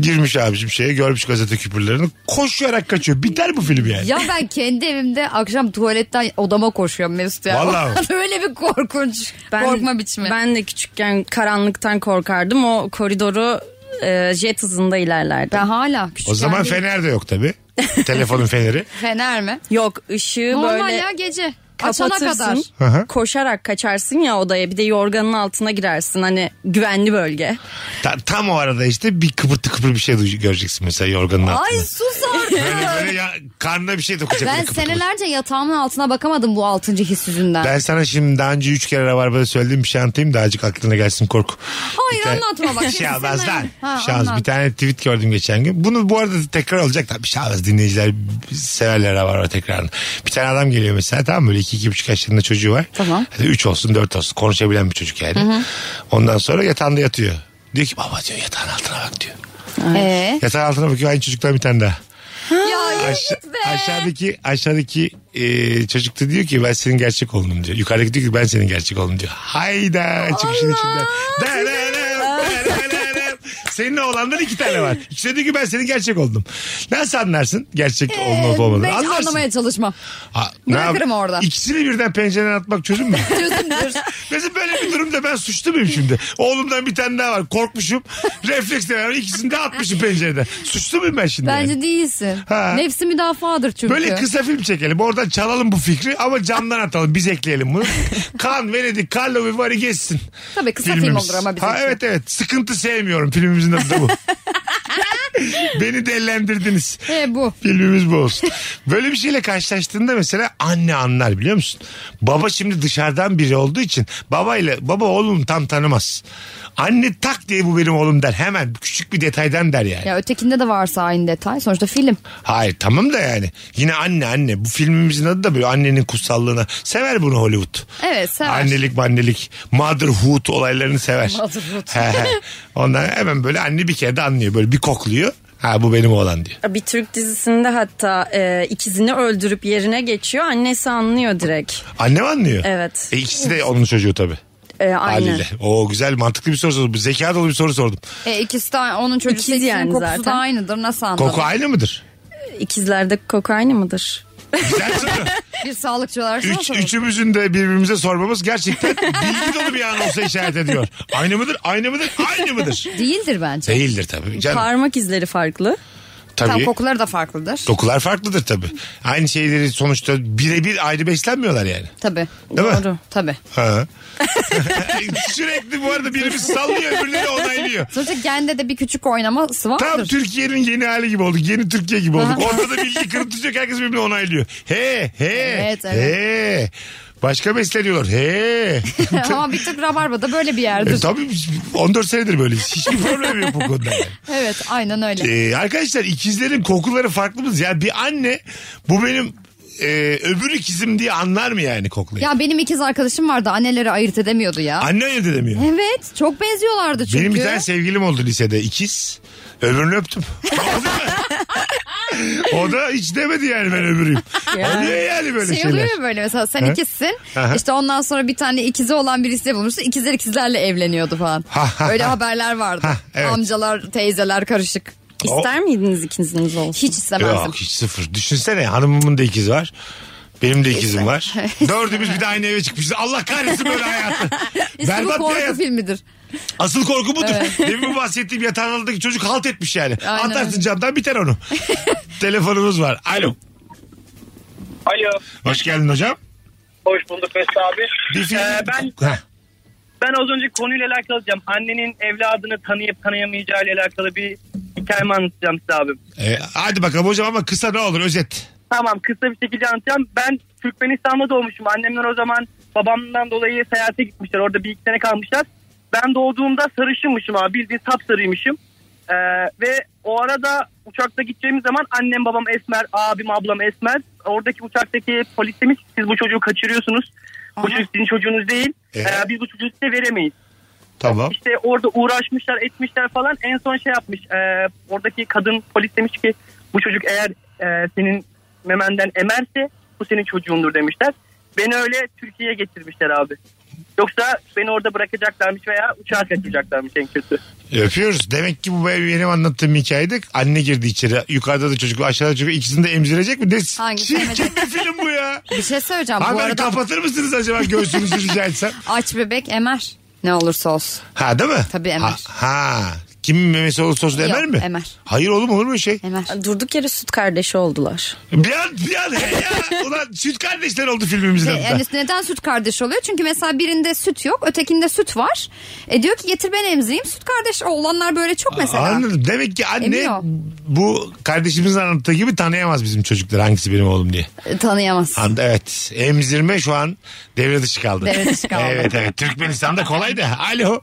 Speaker 1: girmiş abicim şeye görmüş gazete küpürlerini koşarak kaçıyor. Biter bu film yani.
Speaker 2: Ya ben kendi evimde akşam tuvaletten odama koşuyorum Mesut ya.
Speaker 1: Vallahi mi?
Speaker 2: Öyle bir korkunç. korkma biçimi.
Speaker 3: Ben de küçükken karanlıktan korkardım. O koridoru e, jet hızında ilerlerdim.
Speaker 2: Ben hala küçük.
Speaker 1: o zaman
Speaker 2: yani-
Speaker 1: Fener de yok tabii. Telefonun feneri.
Speaker 2: Fener mi?
Speaker 3: Yok ışığı
Speaker 2: Normal
Speaker 3: böyle
Speaker 2: ya gece. Açana kadar.
Speaker 3: kapatırsın.
Speaker 1: Hı hı.
Speaker 3: Koşarak kaçarsın ya odaya bir de yorganın altına girersin hani güvenli bölge.
Speaker 1: Ta- tam o arada işte bir kıpırtı kıpır bir şey duy- göreceksin mesela yorganın altında.
Speaker 2: Ay sus
Speaker 1: Böyle,
Speaker 2: artık.
Speaker 1: böyle ya, karnına bir şey dokacak.
Speaker 2: ben
Speaker 1: böyle kıpır kıpır.
Speaker 2: senelerce yatağımın altına bakamadım bu altıncı his yüzünden.
Speaker 1: Ben sana şimdi daha önce üç kere rabarbada söylediğim bir şey anlatayım da azıcık aklına gelsin korku.
Speaker 2: Hayır
Speaker 1: Bir tane-
Speaker 2: anlatma bak.
Speaker 1: Şahbaz lan.
Speaker 2: Ha,
Speaker 1: Şahbaz
Speaker 2: anlat.
Speaker 1: bir tane tweet gördüm geçen gün. Bunu bu arada tekrar olacak tabii Şahbaz dinleyiciler severler var o tekrarını. Bir tane adam geliyor mesela tamam mı? böyle iki iki buçuk yaşlarında çocuğu var.
Speaker 2: Tamam.
Speaker 1: Hadi üç olsun dört olsun konuşabilen bir çocuk yani. Ondan sonra yatağında yatıyor. Diyor ki baba diyor yatağın altına bak diyor.
Speaker 2: Ee?
Speaker 1: Yatağın altına bakıyor aynı çocuktan bir tane daha.
Speaker 2: Ya yürü
Speaker 1: Aşa-
Speaker 2: git be.
Speaker 1: aşağıdaki aşağıdaki e, çocuk da diyor ki ben senin gerçek oğlunum diyor. Yukarıdaki diyor ki ben senin gerçek oğlunum diyor. Hayda çıkışın içinden. Dararım, dararım. Senin oğlandan iki tane var. İkisi de diyor ki ben senin gerçek oğlunum. Nasıl anlarsın gerçek oğlun olup olmadığını?
Speaker 2: ben hiç
Speaker 1: Anlarsın.
Speaker 2: anlamaya çalışmam.
Speaker 1: Ha, ne yap-
Speaker 2: Ee, Bırakırım orada.
Speaker 1: İkisini birden pencereden atmak çözüm mü?
Speaker 2: Çözümdür.
Speaker 1: Mesela böyle bir durumda ben suçlu muyum şimdi? Oğlumdan bir tane daha var. Korkmuşum. Refleksle beraber ikisini de atmışım pencereden. Suçlu muyum ben şimdi? yani?
Speaker 2: Bence değilsin.
Speaker 1: Ha.
Speaker 2: Nefsi müdafadır çünkü.
Speaker 1: Böyle kısa film çekelim. Oradan çalalım bu fikri ama camdan atalım. Biz ekleyelim bunu. kan, Venedik, Carlo Vivari geçsin.
Speaker 2: Tabii kısa film olur ama bizim
Speaker 1: Ha,
Speaker 2: için.
Speaker 1: evet evet. Sıkıntı sevmiyorum. Filmimizin adı da bu. Beni dellendirdiniz.
Speaker 2: E bu.
Speaker 1: Filmimiz bu olsun. Böyle bir şeyle karşılaştığında mesela anne anlar biliyor musun? Baba şimdi dışarıdan biri olduğu için babayla baba oğlum tam tanımaz. Anne tak diye bu benim oğlum der. Hemen küçük bir detaydan der yani.
Speaker 2: Ya ötekinde de varsa aynı detay. Sonuçta film.
Speaker 1: Hayır tamam da yani. Yine anne anne. Bu filmimizin adı da böyle annenin kutsallığına. Sever bunu Hollywood.
Speaker 2: Evet sever.
Speaker 1: Annelik annelik motherhood olaylarını sever.
Speaker 2: Motherhood.
Speaker 1: He, he. Ondan hemen böyle anne bir kere de anlıyor. Böyle bir kokluyor. Ha bu benim oğlan diyor.
Speaker 3: Bir Türk dizisinde hatta e, ikizini öldürüp yerine geçiyor annesi anlıyor direkt.
Speaker 1: Annem anlıyor.
Speaker 3: Evet.
Speaker 1: E, ikisi de onun çocuğu tabii.
Speaker 3: E, aynen.
Speaker 1: Haliyle. Oo güzel mantıklı bir soru sordum. Zeka dolu bir soru sordum.
Speaker 2: E, ikisi de onun çocuğu
Speaker 3: İkiz
Speaker 2: ikisinin
Speaker 3: yani
Speaker 2: kokusu
Speaker 3: zaten.
Speaker 2: da aynıdır. Nasıl anladın?
Speaker 1: Koku aynı mıdır?
Speaker 3: İkizlerde koku aynı mıdır?
Speaker 1: Güzel soru.
Speaker 2: Bir sağlıkçı olarak sana
Speaker 1: Üç,
Speaker 2: soralım.
Speaker 1: üçümüzün de birbirimize sormamız gerçekten bilgi dolu bir an olsa işaret ediyor. Aynı mıdır? Aynı mıdır? Aynı mıdır?
Speaker 2: Değildir bence.
Speaker 1: Değildir tabii. Canım,
Speaker 3: Parmak izleri farklı.
Speaker 2: Tam
Speaker 1: tabii.
Speaker 2: kokuları da farklıdır.
Speaker 1: Dokular farklıdır tabii. Aynı şeyleri sonuçta birebir ayrı beslenmiyorlar yani.
Speaker 2: Tabii.
Speaker 1: Değil mi?
Speaker 2: Doğru. Tabii.
Speaker 1: Ha. Sürekli bu arada birimiz sallıyor öbürleri onaylıyor.
Speaker 2: Sonuçta gende de bir küçük oynaması vardır.
Speaker 1: Tam Türkiye'nin yeni hali gibi olduk. Yeni Türkiye gibi olduk. Ortada bilgi kırıntısı yok. Herkes birbirini onaylıyor. He he
Speaker 2: Evet, evet.
Speaker 1: he. Başka besleniyorlar. He.
Speaker 2: Ama bir tık rabarba da böyle bir
Speaker 1: E,
Speaker 2: yerdir.
Speaker 1: tabii biz 14 senedir böyleyiz. Hiçbir problem yok bu konuda. yani.
Speaker 2: Evet aynen öyle.
Speaker 1: Ee, arkadaşlar ikizlerin kokuları farklı mı? Ya bir anne bu benim e, öbür ikizim diye anlar mı yani koklayı?
Speaker 2: Ya benim ikiz arkadaşım vardı anneleri ayırt edemiyordu ya.
Speaker 1: Anne ayırt edemiyor.
Speaker 2: Evet çok benziyorlardı çünkü.
Speaker 1: Benim bir tane şey sevgilim oldu lisede ikiz. Öbürünü öptüm. o da hiç demedi yani ben öbürüyüm. Oluyor yani böyle
Speaker 2: şey
Speaker 1: şeyler.
Speaker 2: oluyor ya böyle mesela sen
Speaker 1: Hı?
Speaker 2: ikizsin
Speaker 1: Aha.
Speaker 2: işte ondan sonra bir tane ikizi olan birisiyle bulmuşsun ikizler ikizlerle evleniyordu falan.
Speaker 1: Ha, ha,
Speaker 2: Öyle
Speaker 1: ha.
Speaker 2: haberler vardı.
Speaker 1: Ha, evet.
Speaker 2: Amcalar teyzeler karışık.
Speaker 3: İster miydiniz ikiziniz olsun?
Speaker 2: Hiç istemezdim.
Speaker 1: Yok hiç sıfır. Düşünsene hanımımın da ikizi var. Benim de ikizim var. Dördümüz bir de aynı eve çıkmışız. Allah kahretsin böyle hayatı.
Speaker 2: İşte bu
Speaker 1: Berbat bir
Speaker 2: korku
Speaker 1: hayat.
Speaker 2: filmidir.
Speaker 1: Asıl korku budur. Demin bahsettiğim yatağın altındaki çocuk halt etmiş yani.
Speaker 2: Aynen
Speaker 1: Atarsın
Speaker 2: öyle.
Speaker 1: camdan biter onu. Telefonumuz var. Alo.
Speaker 10: Alo.
Speaker 1: Hoş geldin hocam.
Speaker 10: Hoş bulduk Mesut abi.
Speaker 1: Bir film...
Speaker 10: Ee, ben
Speaker 1: Heh.
Speaker 10: ben az önce konuyla alakalı diyeceğim. Annenin evladını tanıyıp tanıyamayacağı ile alakalı bir hikayemi anlatacağım size abim.
Speaker 1: Ee, hadi bakalım hocam ama kısa ne olur özet.
Speaker 10: Tamam kısa bir şekilde anlatacağım. Ben Türkmenistan'da doğmuşum. Annemler o zaman babamdan dolayı seyahate gitmişler. Orada bir iki sene kalmışlar. Ben doğduğumda sarışınmışım abi. Bildiğin sapsarıymışım. Ee, ve o arada uçakta gideceğimiz zaman annem babam esmer, abim ablam esmer. Oradaki uçaktaki polis demiş ki, siz bu çocuğu kaçırıyorsunuz. Bu çocuk sizin çocuğunuz değil.
Speaker 1: Ee?
Speaker 10: Ee, biz bu çocuğu size veremeyiz.
Speaker 1: Tamam.
Speaker 10: İşte orada uğraşmışlar etmişler falan en son şey yapmış e, oradaki kadın polis demiş ki bu çocuk eğer e, senin memenden emerse bu senin çocuğundur demişler. Beni öyle Türkiye'ye getirmişler abi. Yoksa beni orada bırakacaklarmış veya uçağa kaçıracaklarmış en kötü.
Speaker 1: Öpüyoruz. Demek ki bu benim benim anlattığım hikayede anne girdi içeri. Yukarıda da çocuk aşağıda çocuk ikisini de emzirecek mi? Ne
Speaker 2: Hangisi
Speaker 1: çirkin
Speaker 2: emecek?
Speaker 1: bir film bu ya.
Speaker 2: Bir şey söyleyeceğim bu
Speaker 1: Hemen
Speaker 2: arada
Speaker 1: kapatır mısınız acaba göğsünüzü rica etsem?
Speaker 2: aç bebek emer ne olursa olsun.
Speaker 1: Ha değil mi?
Speaker 2: Tabii, Emir.
Speaker 1: Ha, ha. Kimin memesi olursa olsun Emer
Speaker 3: Yok,
Speaker 1: mi?
Speaker 3: Emer.
Speaker 1: Hayır oğlum olur mu öyle şey?
Speaker 3: Durduk yere süt kardeşi oldular.
Speaker 1: Bir an bir an he ya. Ulan süt kardeşler oldu filmimizde.
Speaker 2: E, yani neden süt kardeş oluyor? Çünkü mesela birinde süt yok, ötekinde süt var. E diyor ki getir ben emzireyim. Süt kardeş olanlar böyle çok mesela.
Speaker 1: Anladım. Demek ki anne
Speaker 2: Emiyor.
Speaker 1: bu kardeşimizin anlattığı gibi tanıyamaz bizim çocuklar hangisi benim oğlum diye.
Speaker 2: E, Tanıyamaz.
Speaker 1: Anda evet. Emzirme şu an devre dışı kaldı.
Speaker 2: Devre dışı kaldı.
Speaker 1: evet evet. Türkmenistan'da kolay da. Alo.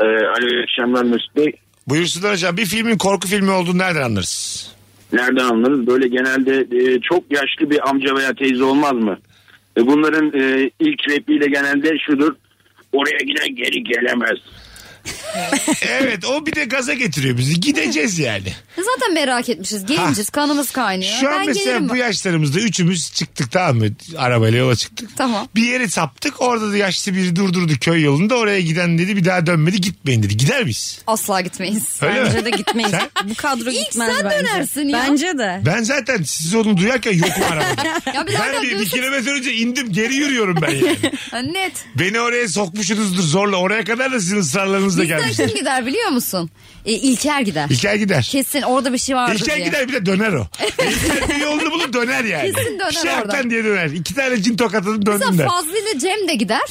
Speaker 5: Ee, alo iyi akşamlar Mesut Bey.
Speaker 1: Buyursunlar hocam. Bir filmin korku filmi olduğunu nereden anlarız?
Speaker 5: Nereden anlarız? Böyle genelde e, çok yaşlı bir amca veya teyze olmaz mı? E, bunların e, ilk repliği de genelde şudur. Oraya giden geri gelemez.
Speaker 1: evet o bir de gaza getiriyor bizi. Gideceğiz yani.
Speaker 2: Zaten merak etmişiz. Gelince kanımız kaynıyor.
Speaker 1: Şu an
Speaker 2: ben
Speaker 1: mesela
Speaker 2: gelirim.
Speaker 1: bu yaşlarımızda üçümüz çıktık tamam mı? Arabayla yola çıktık.
Speaker 2: Tamam.
Speaker 1: Bir yere saptık. Orada da yaşlı biri durdurdu köy yolunda. Oraya giden dedi bir daha dönmedi gitmeyin dedi. Gider miyiz?
Speaker 2: Asla gitmeyiz.
Speaker 1: Öyle
Speaker 3: bence
Speaker 1: mi?
Speaker 3: de gitmeyiz.
Speaker 1: Sen?
Speaker 3: Bu kadro
Speaker 2: İlk
Speaker 3: gitmez
Speaker 2: sen
Speaker 3: bence.
Speaker 2: dönersin ya.
Speaker 3: Bence de.
Speaker 1: Ben zaten siz onu duyarken yokum arabada.
Speaker 2: Ya bir
Speaker 1: ben bir,
Speaker 2: dakika,
Speaker 1: bir
Speaker 2: diyorsun-
Speaker 1: kilometre önce indim geri yürüyorum ben yani.
Speaker 2: Ha, Net.
Speaker 1: Beni oraya sokmuşsunuzdur zorla. Oraya kadar da sizin ısrarlarınızla
Speaker 2: Bizden
Speaker 1: gelmiştim.
Speaker 2: kim gider biliyor musun? E, İlker gider.
Speaker 1: İlker gider.
Speaker 2: Kesin orada bir şey vardır
Speaker 1: İlker
Speaker 2: diye.
Speaker 1: gider bir de döner o. İlker bir yolunu bulur döner yani.
Speaker 2: Kesin döner
Speaker 1: Şarttan
Speaker 2: oradan.
Speaker 1: diye döner. İki tane cin tokatladım döndüm
Speaker 2: Mesela
Speaker 1: der.
Speaker 2: Fazlı ile Cem de gider.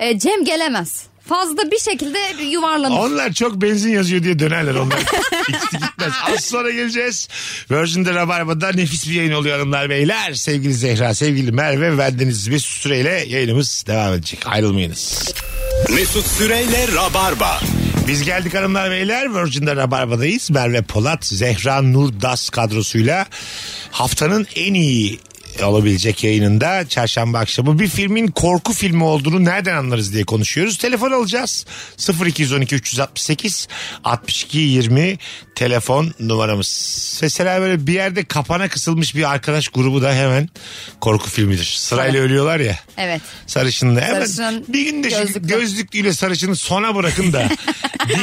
Speaker 2: E, Cem gelemez. Fazla bir şekilde yuvarlanır.
Speaker 1: Onlar çok benzin yazıyor diye dönerler onlar. İkisi gitmez. Az sonra geleceğiz. Virgin'de Rabarba'da nefis bir yayın oluyor hanımlar beyler. Sevgili Zehra, sevgili Merve verdiğiniz bir süreyle yayınımız devam edecek. Ayrılmayınız.
Speaker 11: Mesut Süreyle Rabarba.
Speaker 1: Biz geldik hanımlar beyler. Virgin'de Rabarba'dayız. Merve Polat, Zehra Nurdas kadrosuyla haftanın en iyi olabilecek yayınında çarşamba akşamı bir filmin korku filmi olduğunu nereden anlarız diye konuşuyoruz. Telefon alacağız. 0212 368 62 20 telefon numaramız. Mesela böyle bir yerde kapana kısılmış bir arkadaş grubu da hemen korku filmidir. Sırayla ölüyorlar ya.
Speaker 2: Evet.
Speaker 1: Sarışınla. Hemen
Speaker 2: Sarışın,
Speaker 1: bir gün de şu
Speaker 2: gözlüklü.
Speaker 1: gözlüklüyle sarışını sona bırakın da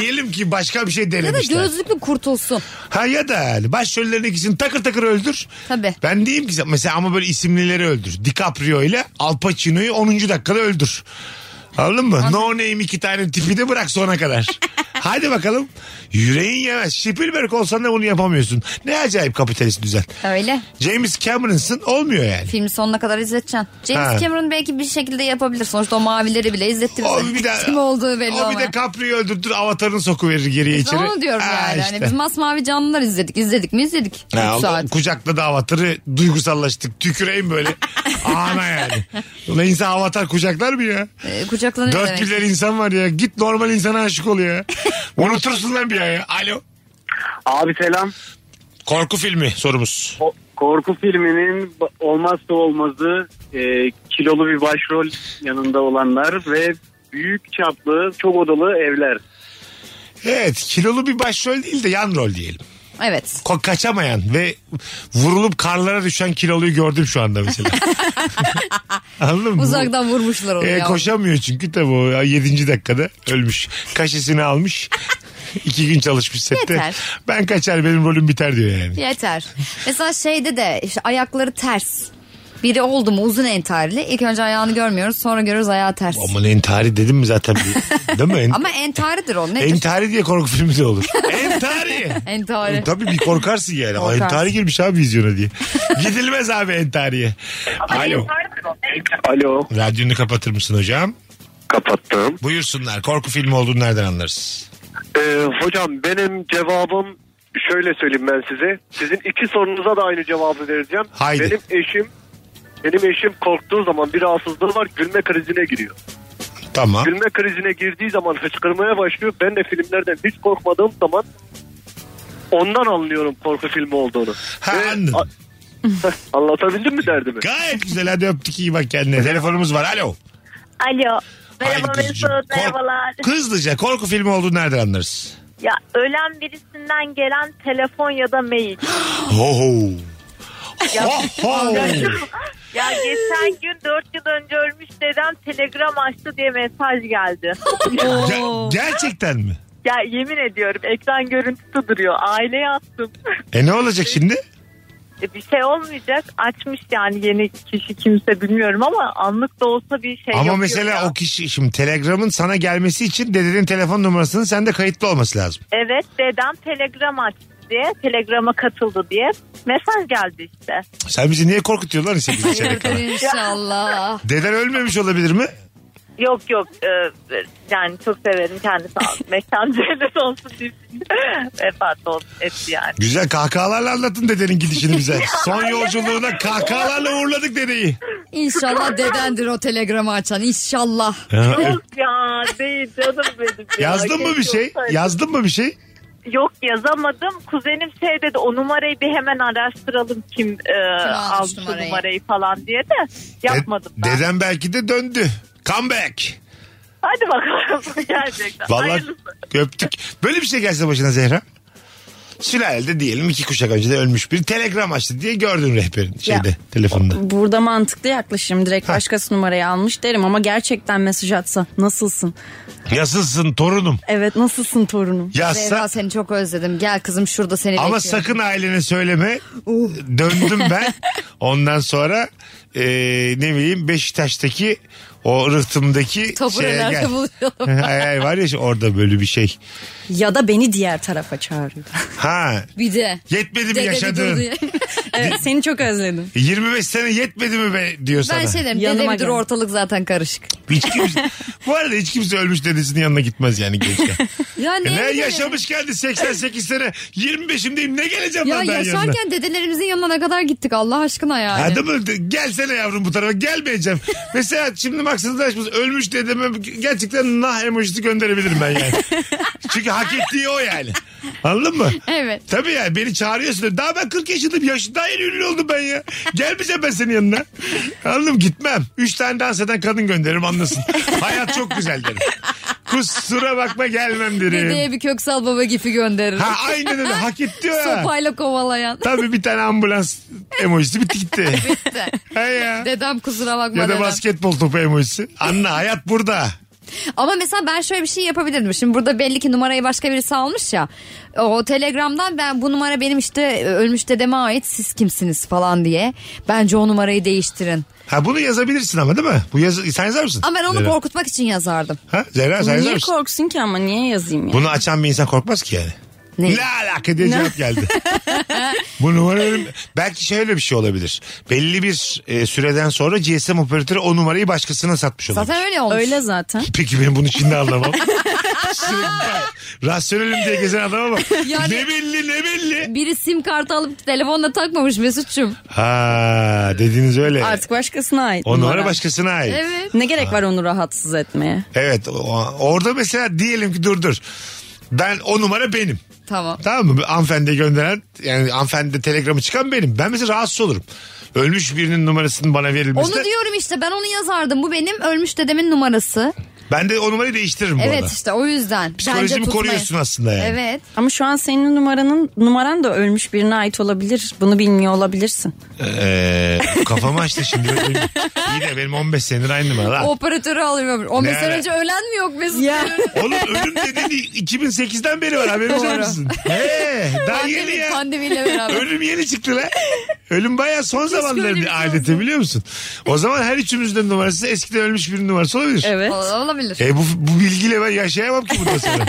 Speaker 1: diyelim ki başka bir şey
Speaker 2: Ya da
Speaker 1: denemişler.
Speaker 2: gözlüklü kurtulsun.
Speaker 1: Ha ya da yani başrollerin ikisini takır takır öldür.
Speaker 2: Tabii.
Speaker 1: Ben diyeyim ki mesela ama böyle isimlileri öldür. DiCaprio ile Al Pacino'yu 10. dakikada öldür. Anladın mı? No name iki tane tipi de bırak sona kadar. Hadi bakalım. Yüreğin yemez. Spielberg olsan da bunu yapamıyorsun. Ne acayip kapitalist düzen.
Speaker 2: Öyle.
Speaker 1: James Cameron'sın olmuyor yani.
Speaker 2: Filmi sonuna kadar izleteceksin. James
Speaker 1: Ha.
Speaker 2: Cameron belki bir şekilde yapabilir. Sonuçta o mavileri bile izletti bize.
Speaker 1: O bir de,
Speaker 2: Kim olduğu belli
Speaker 1: o bir de
Speaker 2: olmayan.
Speaker 1: Caprio'yu öldürtür avatarını sokuverir geriye
Speaker 2: Biz
Speaker 1: içeri.
Speaker 2: onu diyorum
Speaker 1: Ha,
Speaker 2: yani. Hani
Speaker 1: işte.
Speaker 2: biz masmavi canlılar izledik. İzledik mi izledik.
Speaker 1: Ha,
Speaker 2: Üç
Speaker 1: o-
Speaker 2: saat.
Speaker 1: Kucakladı avatarı duygusallaştık. Tüküreyim böyle. Ana yani. Ulan insan avatar kucaklar mı ya?
Speaker 2: Ee, kucaklanıyor
Speaker 1: Dört
Speaker 2: demek.
Speaker 1: milyar insan var ya. Git normal insana aşık ol ya. Unutursun lan bir ay ya. Alo.
Speaker 4: Abi selam.
Speaker 1: Korku filmi sorumuz.
Speaker 4: Ko- Korku filminin ba- olmazsa olmazı e, kilolu bir başrol yanında olanlar ve büyük çaplı çok odalı evler.
Speaker 1: Evet kilolu bir başrol değil de yan rol diyelim.
Speaker 2: Evet.
Speaker 1: Ko- kaçamayan ve vurulup karlara düşen kiloluyu gördüm şu anda mesela. Anladın mı?
Speaker 2: Uzaktan vurmuşlar onu
Speaker 1: E,
Speaker 2: ya.
Speaker 1: koşamıyor çünkü tabii o 7. dakikada ölmüş. Kaşesini almış. İki gün çalışmış sette.
Speaker 2: Yeter.
Speaker 1: Ben kaçar benim rolüm biter diyor yani.
Speaker 2: Yeter. Mesela şeyde de işte ayakları ters. Biri oldu mu uzun entarili. İlk önce ayağını görmüyoruz sonra görürüz ayağı ters.
Speaker 1: Aman entari dedim mi zaten? bir- Değil mi? En-
Speaker 2: Ama entaridir o nedir?
Speaker 1: entari diye korku filmi de olur. entari!
Speaker 2: entari.
Speaker 1: Tabii bir korkarsın yani. Aa,
Speaker 2: Korkarsın.
Speaker 1: Entari girmiş abi vizyona diye. Gidilmez abi entariye. Alo.
Speaker 4: Alo
Speaker 1: Radyonu kapatır mısın hocam?
Speaker 4: kapattım.
Speaker 1: Buyursunlar. Korku filmi olduğunu nereden anlarız?
Speaker 4: Ee, hocam benim cevabım şöyle söyleyeyim ben size. Sizin iki sorunuza da aynı cevabı vereceğim.
Speaker 1: Haydi.
Speaker 4: Benim eşim benim eşim korktuğu zaman bir rahatsızlığı var gülme krizine giriyor.
Speaker 1: Tamam.
Speaker 4: Gülme krizine girdiği zaman hıçkırmaya başlıyor. Ben de filmlerden hiç korkmadığım zaman ondan anlıyorum korku filmi olduğunu.
Speaker 1: Ha,
Speaker 4: Ve-
Speaker 1: anladım.
Speaker 4: a- Anlatabildim mi derdimi?
Speaker 1: Gayet güzel. Hadi öptük iyi bak kendine. Telefonumuz var. Alo.
Speaker 6: Alo.
Speaker 1: Haydi
Speaker 6: Merhaba
Speaker 1: kuzucuğum.
Speaker 6: Mesut,
Speaker 1: Kork-
Speaker 6: merhabalar.
Speaker 1: Hızlıca korku filmi olduğunu nereden anlarız?
Speaker 6: Ya ölen birisinden gelen telefon ya da mail.
Speaker 1: Ho ho.
Speaker 6: Ya,
Speaker 1: Ho ho.
Speaker 6: ya geçen gün 4 yıl önce ölmüş dedem telegram açtı diye mesaj geldi.
Speaker 1: Ge- gerçekten mi?
Speaker 6: ya yemin ediyorum ekran görüntüsü duruyor. Aileye attım.
Speaker 1: E ne olacak şimdi?
Speaker 12: E, Bir şey olmayacak. Açmış yani yeni kişi kimse bilmiyorum ama anlık da olsa bir şey
Speaker 1: Ama
Speaker 12: yapıyor
Speaker 1: mesela
Speaker 12: ya.
Speaker 1: o kişi şimdi telegramın sana gelmesi için dedenin telefon numarasının sende kayıtlı olması lazım.
Speaker 12: Evet dedem telegram açtı diye telegrama katıldı diye mesaj geldi işte.
Speaker 1: Sen bizi niye korkutuyorsun lan 8 çeyrek kala?
Speaker 12: İnşallah.
Speaker 1: Deden ölmemiş olabilir mi?
Speaker 12: yok yok e, yani çok severim kendisi. Mekan cennet olsun deyip vefat oldu etti yani.
Speaker 1: Güzel kahkahalarla anlatın dedenin gidişini bize. Son yolculuğuna kahkahalarla uğurladık dedeyi.
Speaker 2: İnşallah dedendir o telegramı açan. İnşallah.
Speaker 1: Ya, evet.
Speaker 12: ya değil canım benim. ya.
Speaker 1: e- Yazdın mı bir
Speaker 12: Keşke
Speaker 1: şey?
Speaker 12: olsaydı.
Speaker 1: Yazdın mı bir şey?
Speaker 12: Yok yazamadım. Kuzenim şey dedi o numarayı bir hemen araştıralım kim, e,
Speaker 2: almış
Speaker 12: almış numarayı.
Speaker 2: numarayı?"
Speaker 12: numarayı falan diye de yapmadım.
Speaker 1: Deden belki de döndü. Comeback.
Speaker 12: Hadi bakalım gerçekten.
Speaker 1: Vallahi
Speaker 12: Hayırlısı.
Speaker 1: öptük. Böyle bir şey gelse başına Zehra. Sülalede diyelim iki kuşak önce de ölmüş bir telegram açtı diye gördün rehberin şeyde
Speaker 3: Ya.
Speaker 1: telefonda.
Speaker 3: Burada mantıklı yaklaşım direkt başkası numarayı almış derim ama gerçekten mesaj atsa nasılsın?
Speaker 1: Yazılsın torunum.
Speaker 3: Evet nasılsın torunum?
Speaker 1: Yazsa-
Speaker 2: Zehra seni çok özledim. Gel kızım şurada seni
Speaker 1: Ama
Speaker 2: bekliyorum.
Speaker 1: sakın ailene söyleme. Döndüm ben. Ondan sonra e, ne bileyim Beşiktaş'taki o rıhtımdaki şeye
Speaker 3: Taburelerde
Speaker 1: gel.
Speaker 3: buluşalım.
Speaker 1: ay, ay, var ya şu- orada böyle bir şey.
Speaker 3: Ya da beni diğer tarafa çağırıyor.
Speaker 1: Ha.
Speaker 2: Bir de.
Speaker 1: Yetmedi mi
Speaker 3: Dede bir
Speaker 1: yaşadığın?
Speaker 3: dur diye. evet seni çok özledim.
Speaker 1: 25 sene yetmedi mi be diyor sana.
Speaker 2: Ben şey derim dede
Speaker 3: Yanıma
Speaker 2: bir dur
Speaker 3: gel.
Speaker 2: ortalık zaten karışık.
Speaker 1: Hiç kimse- bu arada hiç kimse ölmüş dedesinin yanına gitmez yani gençken.
Speaker 2: Ya
Speaker 1: E
Speaker 2: ne?
Speaker 1: ne yaşamış geldi 88 sene 25'imdeyim ne geleceğim
Speaker 2: Ya
Speaker 1: lan ben
Speaker 2: yaşarken
Speaker 1: yanına.
Speaker 2: dedelerimizin yanına ne kadar gittik Allah aşkına yani.
Speaker 1: Hadi mı? De- Gelsene yavrum bu tarafa gelmeyeceğim. Mesela şimdi maksadlaşmış ölmüş dedeme gerçekten nah emojisi gönderebilirim ben yani. Çünkü hak ettiği o yani. Anladın mı?
Speaker 2: Evet.
Speaker 1: Tabii yani beni çağırıyorsun. Daha ben 40 yaşındayım. Yaş, daha yeni ünlü oldum ben ya. Gelmeyeceğim ben senin yanına. Anladın mı? Gitmem. 3 tane dans eden kadın gönderirim anlasın. Hayat çok güzel derim. Kusura bakma gelmem derim.
Speaker 2: Dedeye bir köksal baba gifi gönderir.
Speaker 1: Ha aynen öyle hak etti o ya.
Speaker 2: Sopayla kovalayan.
Speaker 1: Tabii bir tane ambulans emojisi bitti gitti.
Speaker 2: Bitti.
Speaker 1: He ya.
Speaker 2: Dedem kusura bakma
Speaker 1: Ya da
Speaker 2: dedem.
Speaker 1: basketbol topu emojisi. Anne hayat burada.
Speaker 2: Ama mesela ben şöyle bir şey yapabilirdim. Şimdi burada belli ki numarayı başka birisi almış ya. O telegramdan ben bu numara benim işte e, ölmüş dedeme ait siz kimsiniz falan diye. Bence o numarayı değiştirin.
Speaker 1: Ha bunu yazabilirsin ama değil mi? Bu yazı sen yazar mısın?
Speaker 2: Ama ben onu
Speaker 1: Zehra.
Speaker 2: korkutmak için yazardım.
Speaker 1: Ha Zehra sen yazar
Speaker 3: Niye
Speaker 1: mısın?
Speaker 3: korksun ki ama niye yazayım ya?
Speaker 1: Bunu açan bir insan korkmaz ki yani. Ne, alaka diye cevap geldi. Bu numara ölüm- Belki şöyle bir şey olabilir. Belli bir e, süreden sonra GSM operatörü o numarayı başkasına satmış olabilir.
Speaker 2: Zaten öyle olmuş.
Speaker 3: Öyle zaten.
Speaker 1: Peki benim bunu şimdi anlamam. Sürekli rasyonelim diye gezen adama bak.
Speaker 2: Yani-
Speaker 1: Ne belli ne belli.
Speaker 2: Biri sim kartı alıp telefonla takmamış Mesut'cum.
Speaker 1: Ha dediğiniz öyle.
Speaker 3: Artık başkasına ait.
Speaker 1: O numara başkasına ait. Evet.
Speaker 2: Evet.
Speaker 3: Ne gerek var onu rahatsız etmeye?
Speaker 1: o- orada mesela diyelim ki dur dur. Ben o numara benim.
Speaker 2: Tamam.
Speaker 1: Tamam mı? Hanımefendiye gönderen yani hanımefendi telegramı çıkan benim. Ben mesela rahatsız olurum. Ölmüş birinin numarasının bana verilmesi
Speaker 2: Onu
Speaker 1: de,
Speaker 2: diyorum işte ben onu yazardım. Bu benim ölmüş dedemin numarası.
Speaker 1: ben de o numarayı değiştiririm bu
Speaker 2: Evet
Speaker 1: arada.
Speaker 2: işte o yüzden. Bence
Speaker 1: Psikolojimi
Speaker 2: tutmayın.
Speaker 1: koruyorsun aslında yani.
Speaker 2: Evet.
Speaker 3: Ama şu an senin numaranın numaran da ölmüş birine ait olabilir. Bunu bilmiyor olabilirsin.
Speaker 1: Ee, kafamı açtı şimdi. Benim- İyi de benim 15 senedir aynı numara lan.
Speaker 2: O Operatörü alıyor. 15 sene
Speaker 1: ara-
Speaker 2: önce ölen mi yok Mesut?
Speaker 1: Oğlum ölüm dediğin 2008'den beri var haberiniz var
Speaker 2: Doğru.
Speaker 1: mısın? He, daha yeni
Speaker 2: Pandemi,
Speaker 1: ya.
Speaker 2: pandemiyle beraber.
Speaker 1: Ölüm yeni çıktı lan. Ölüm bayağı son zamanların
Speaker 2: öyle bir
Speaker 1: bir
Speaker 2: şey
Speaker 1: adeti biliyor musun? O zaman her üçümüzden numarası eskiden ölmüş birinin numarası olabilir.
Speaker 3: Evet.
Speaker 2: Ol- Olabilir.
Speaker 1: E bu, bu bilgiyle ben yaşayamam ki bundan sonra.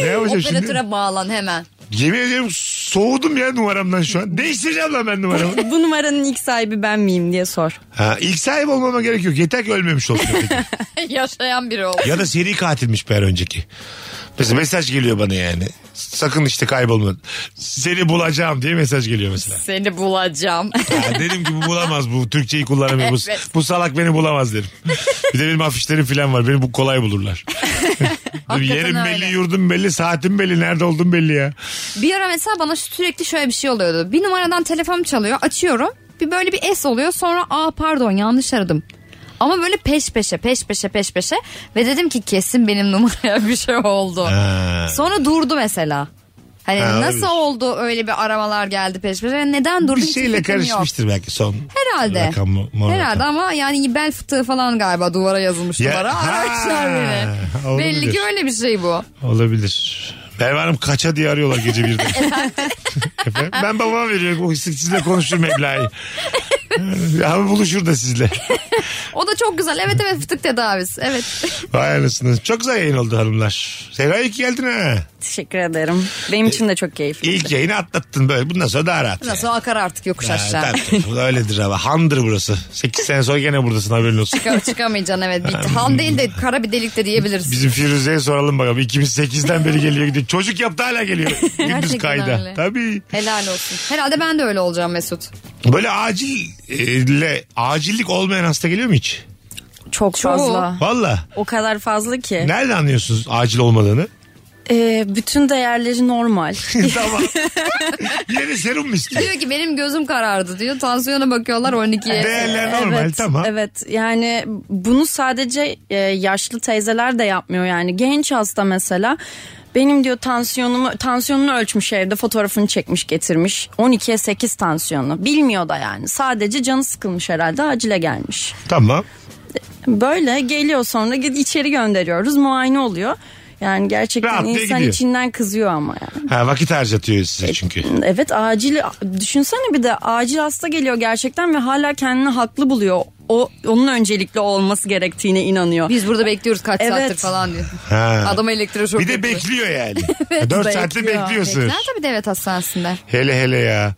Speaker 1: ne yapacağım şimdi?
Speaker 2: Operatöre bağlan hemen.
Speaker 1: Yemin ediyorum soğudum ya numaramdan şu an. Değiştireceğim lan ben numaramı.
Speaker 3: Bu numaranın ilk sahibi ben miyim diye sor.
Speaker 1: Ha, ilk sahip olmama gerek yok. Yeter ki ölmemiş olsun.
Speaker 2: Yaşayan biri ol.
Speaker 1: ya da seri katilmiş bir an önceki. Mesela mesaj geliyor bana yani. Sakın işte kaybolma. Seni bulacağım diye mesaj geliyor mesela.
Speaker 2: Seni bulacağım.
Speaker 1: Ya derim ki bu bulamaz bu Türkçeyi kullanamıyor. Bu-
Speaker 2: Evet.
Speaker 1: Bu, salak beni bulamaz derim. Bir de benim afişlerim falan var. Beni bu kolay bulurlar.
Speaker 2: Hakikaten
Speaker 1: Yerim belli,
Speaker 2: öyle.
Speaker 1: yurdum belli, saatim belli, nerede oldum belli ya.
Speaker 2: bir ara mesela bana sürekli şöyle bir şey oluyordu. Bir numaradan telefonum çalıyor. Açıyorum. Bir böyle bir S oluyor. Sonra aa pardon yanlış aradım. Ama böyle peş peşe peş peşe peş peşe ve dedim ki kesin benim numaraya bir şey oldu.
Speaker 1: Ha.
Speaker 2: Sonra durdu mesela. Hani
Speaker 1: Ha,
Speaker 2: nasıl
Speaker 1: olabilir.
Speaker 2: oldu öyle bir aramalar geldi peş peşe Hani neden durdu
Speaker 1: Bir
Speaker 2: hiç
Speaker 1: şeyle
Speaker 2: fikrim yok.
Speaker 1: karışmıştır belki son.
Speaker 2: Herhalde.
Speaker 1: Rakam mı- mor
Speaker 2: Herhalde
Speaker 1: rakam.
Speaker 2: ama yani bel fıtığı falan galiba duvara yazılmış
Speaker 1: Ya-
Speaker 2: duvara.
Speaker 1: Ha,
Speaker 2: Aramışlar beni.
Speaker 1: olabilir.
Speaker 2: Belli ki öyle bir şey bu.
Speaker 1: Olabilir. Merve Hanım kaça diye arıyorlar gece birde. be. Ben babama veriyorum. O sık sizle konuşur meblağı. Ama buluşur da sizle.
Speaker 2: O da çok güzel. Evet evet fıtık tedavisi. Evet.
Speaker 1: Vay anasını. Çok güzel yayın oldu hanımlar. Sera iyi ki geldin ha.
Speaker 3: Teşekkür ederim. Benim için de çok keyifli.
Speaker 1: İlk yayını atlattın böyle. Bundan sonra daha rahat.
Speaker 2: Ondan sonra akar artık yokuş
Speaker 1: Ha,
Speaker 2: aşağı.
Speaker 1: tabii, tabii. Bu da öyledir abi. Handır burası. 8 sene sonra gene buradasın haberin olsun.
Speaker 2: Çıka- çıkamayacaksın evet. Bitti. Han değil de kara bir delik de diyebiliriz.
Speaker 1: Bizim Firuze'ye soralım bakalım. 2008'den beri geliyor gidiyor. Çocuk yaptı hala geliyor. Gündüz
Speaker 2: Gerçekten
Speaker 1: kayda.
Speaker 2: öyle.
Speaker 1: Tabii.
Speaker 2: Helal olsun. Herhalde ben de öyle olacağım Mesut.
Speaker 1: Böyle acille, acillik olmayan hasta geliyor mu hiç?
Speaker 3: Çok fazla.
Speaker 1: Valla.
Speaker 3: O kadar fazla ki.
Speaker 1: Nerede anlıyorsunuz acil olmadığını?
Speaker 3: Ee, bütün değerleri normal.
Speaker 1: tamam. Yeni serum mu istiyor?
Speaker 2: Diyor ki benim gözüm karardı diyor. Tansiyona bakıyorlar 12'ye.
Speaker 1: Değerler normal tamam.
Speaker 3: Evet yani bunu sadece e, yaşlı teyzeler de yapmıyor yani genç hasta mesela benim diyor tansiyonumu tansiyonunu ölçmüş evde fotoğrafını çekmiş getirmiş 12'ye 8 tansiyonu bilmiyor da yani sadece canı sıkılmış herhalde acile gelmiş.
Speaker 1: Tamam.
Speaker 3: Böyle geliyor sonra gid- içeri gönderiyoruz muayene oluyor. Yani gerçekten
Speaker 1: Rahat diye
Speaker 3: insan
Speaker 1: gidiyor.
Speaker 3: içinden kızıyor ama yani.
Speaker 1: Ha, vakit harcatıyor size çünkü.
Speaker 3: Evet acil düşünsene bir de acil hasta geliyor gerçekten ve hala kendini haklı buluyor. O onun öncelikli olması gerektiğine inanıyor.
Speaker 2: Biz burada bekliyoruz kaç saattir
Speaker 3: Evet.
Speaker 2: falan diyor.
Speaker 1: Ha.
Speaker 2: Adam elektroşok.
Speaker 1: Bir de
Speaker 2: yapıyor.
Speaker 1: bekliyor yani. 4 saatte bekliyorsun.
Speaker 2: Bekler tabii devlet hastanesinde.
Speaker 1: Hele hele ya.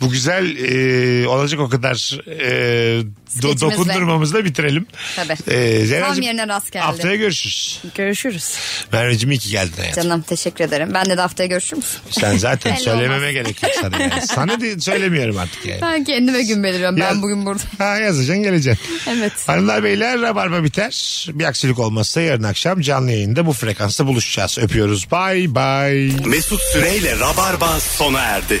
Speaker 1: Bu güzel e, olacak o kadar e, do,
Speaker 2: Skeçimizle.
Speaker 1: dokundurmamızla bitirelim.
Speaker 2: Tabii.
Speaker 1: Ee, Zeynacığım,
Speaker 2: Tam yerine rast geldi.
Speaker 1: Haftaya görüşürüz.
Speaker 3: Görüşürüz.
Speaker 1: Merveciğim iyi ki geldin hayatım.
Speaker 2: Canım teşekkür ederim. Ben de, de haftaya görüşür müsün?
Speaker 1: Sen zaten
Speaker 2: Belli
Speaker 1: söylememe
Speaker 2: olmaz.
Speaker 1: gerek yok sana. Yani. Sana de söylemiyorum artık yani.
Speaker 2: Ben kendime gün beliriyorum.
Speaker 1: Yaz-
Speaker 2: Ben bugün burada.
Speaker 1: Ha yazacaksın geleceksin.
Speaker 3: Evet.
Speaker 1: Hanımlar beyler rabarba biter. Bir aksilik olmazsa yarın akşam canlı yayında bu frekansta buluşacağız. Öpüyoruz. Bay bay.
Speaker 7: Mesut Süreyle Rabarba sona erdi.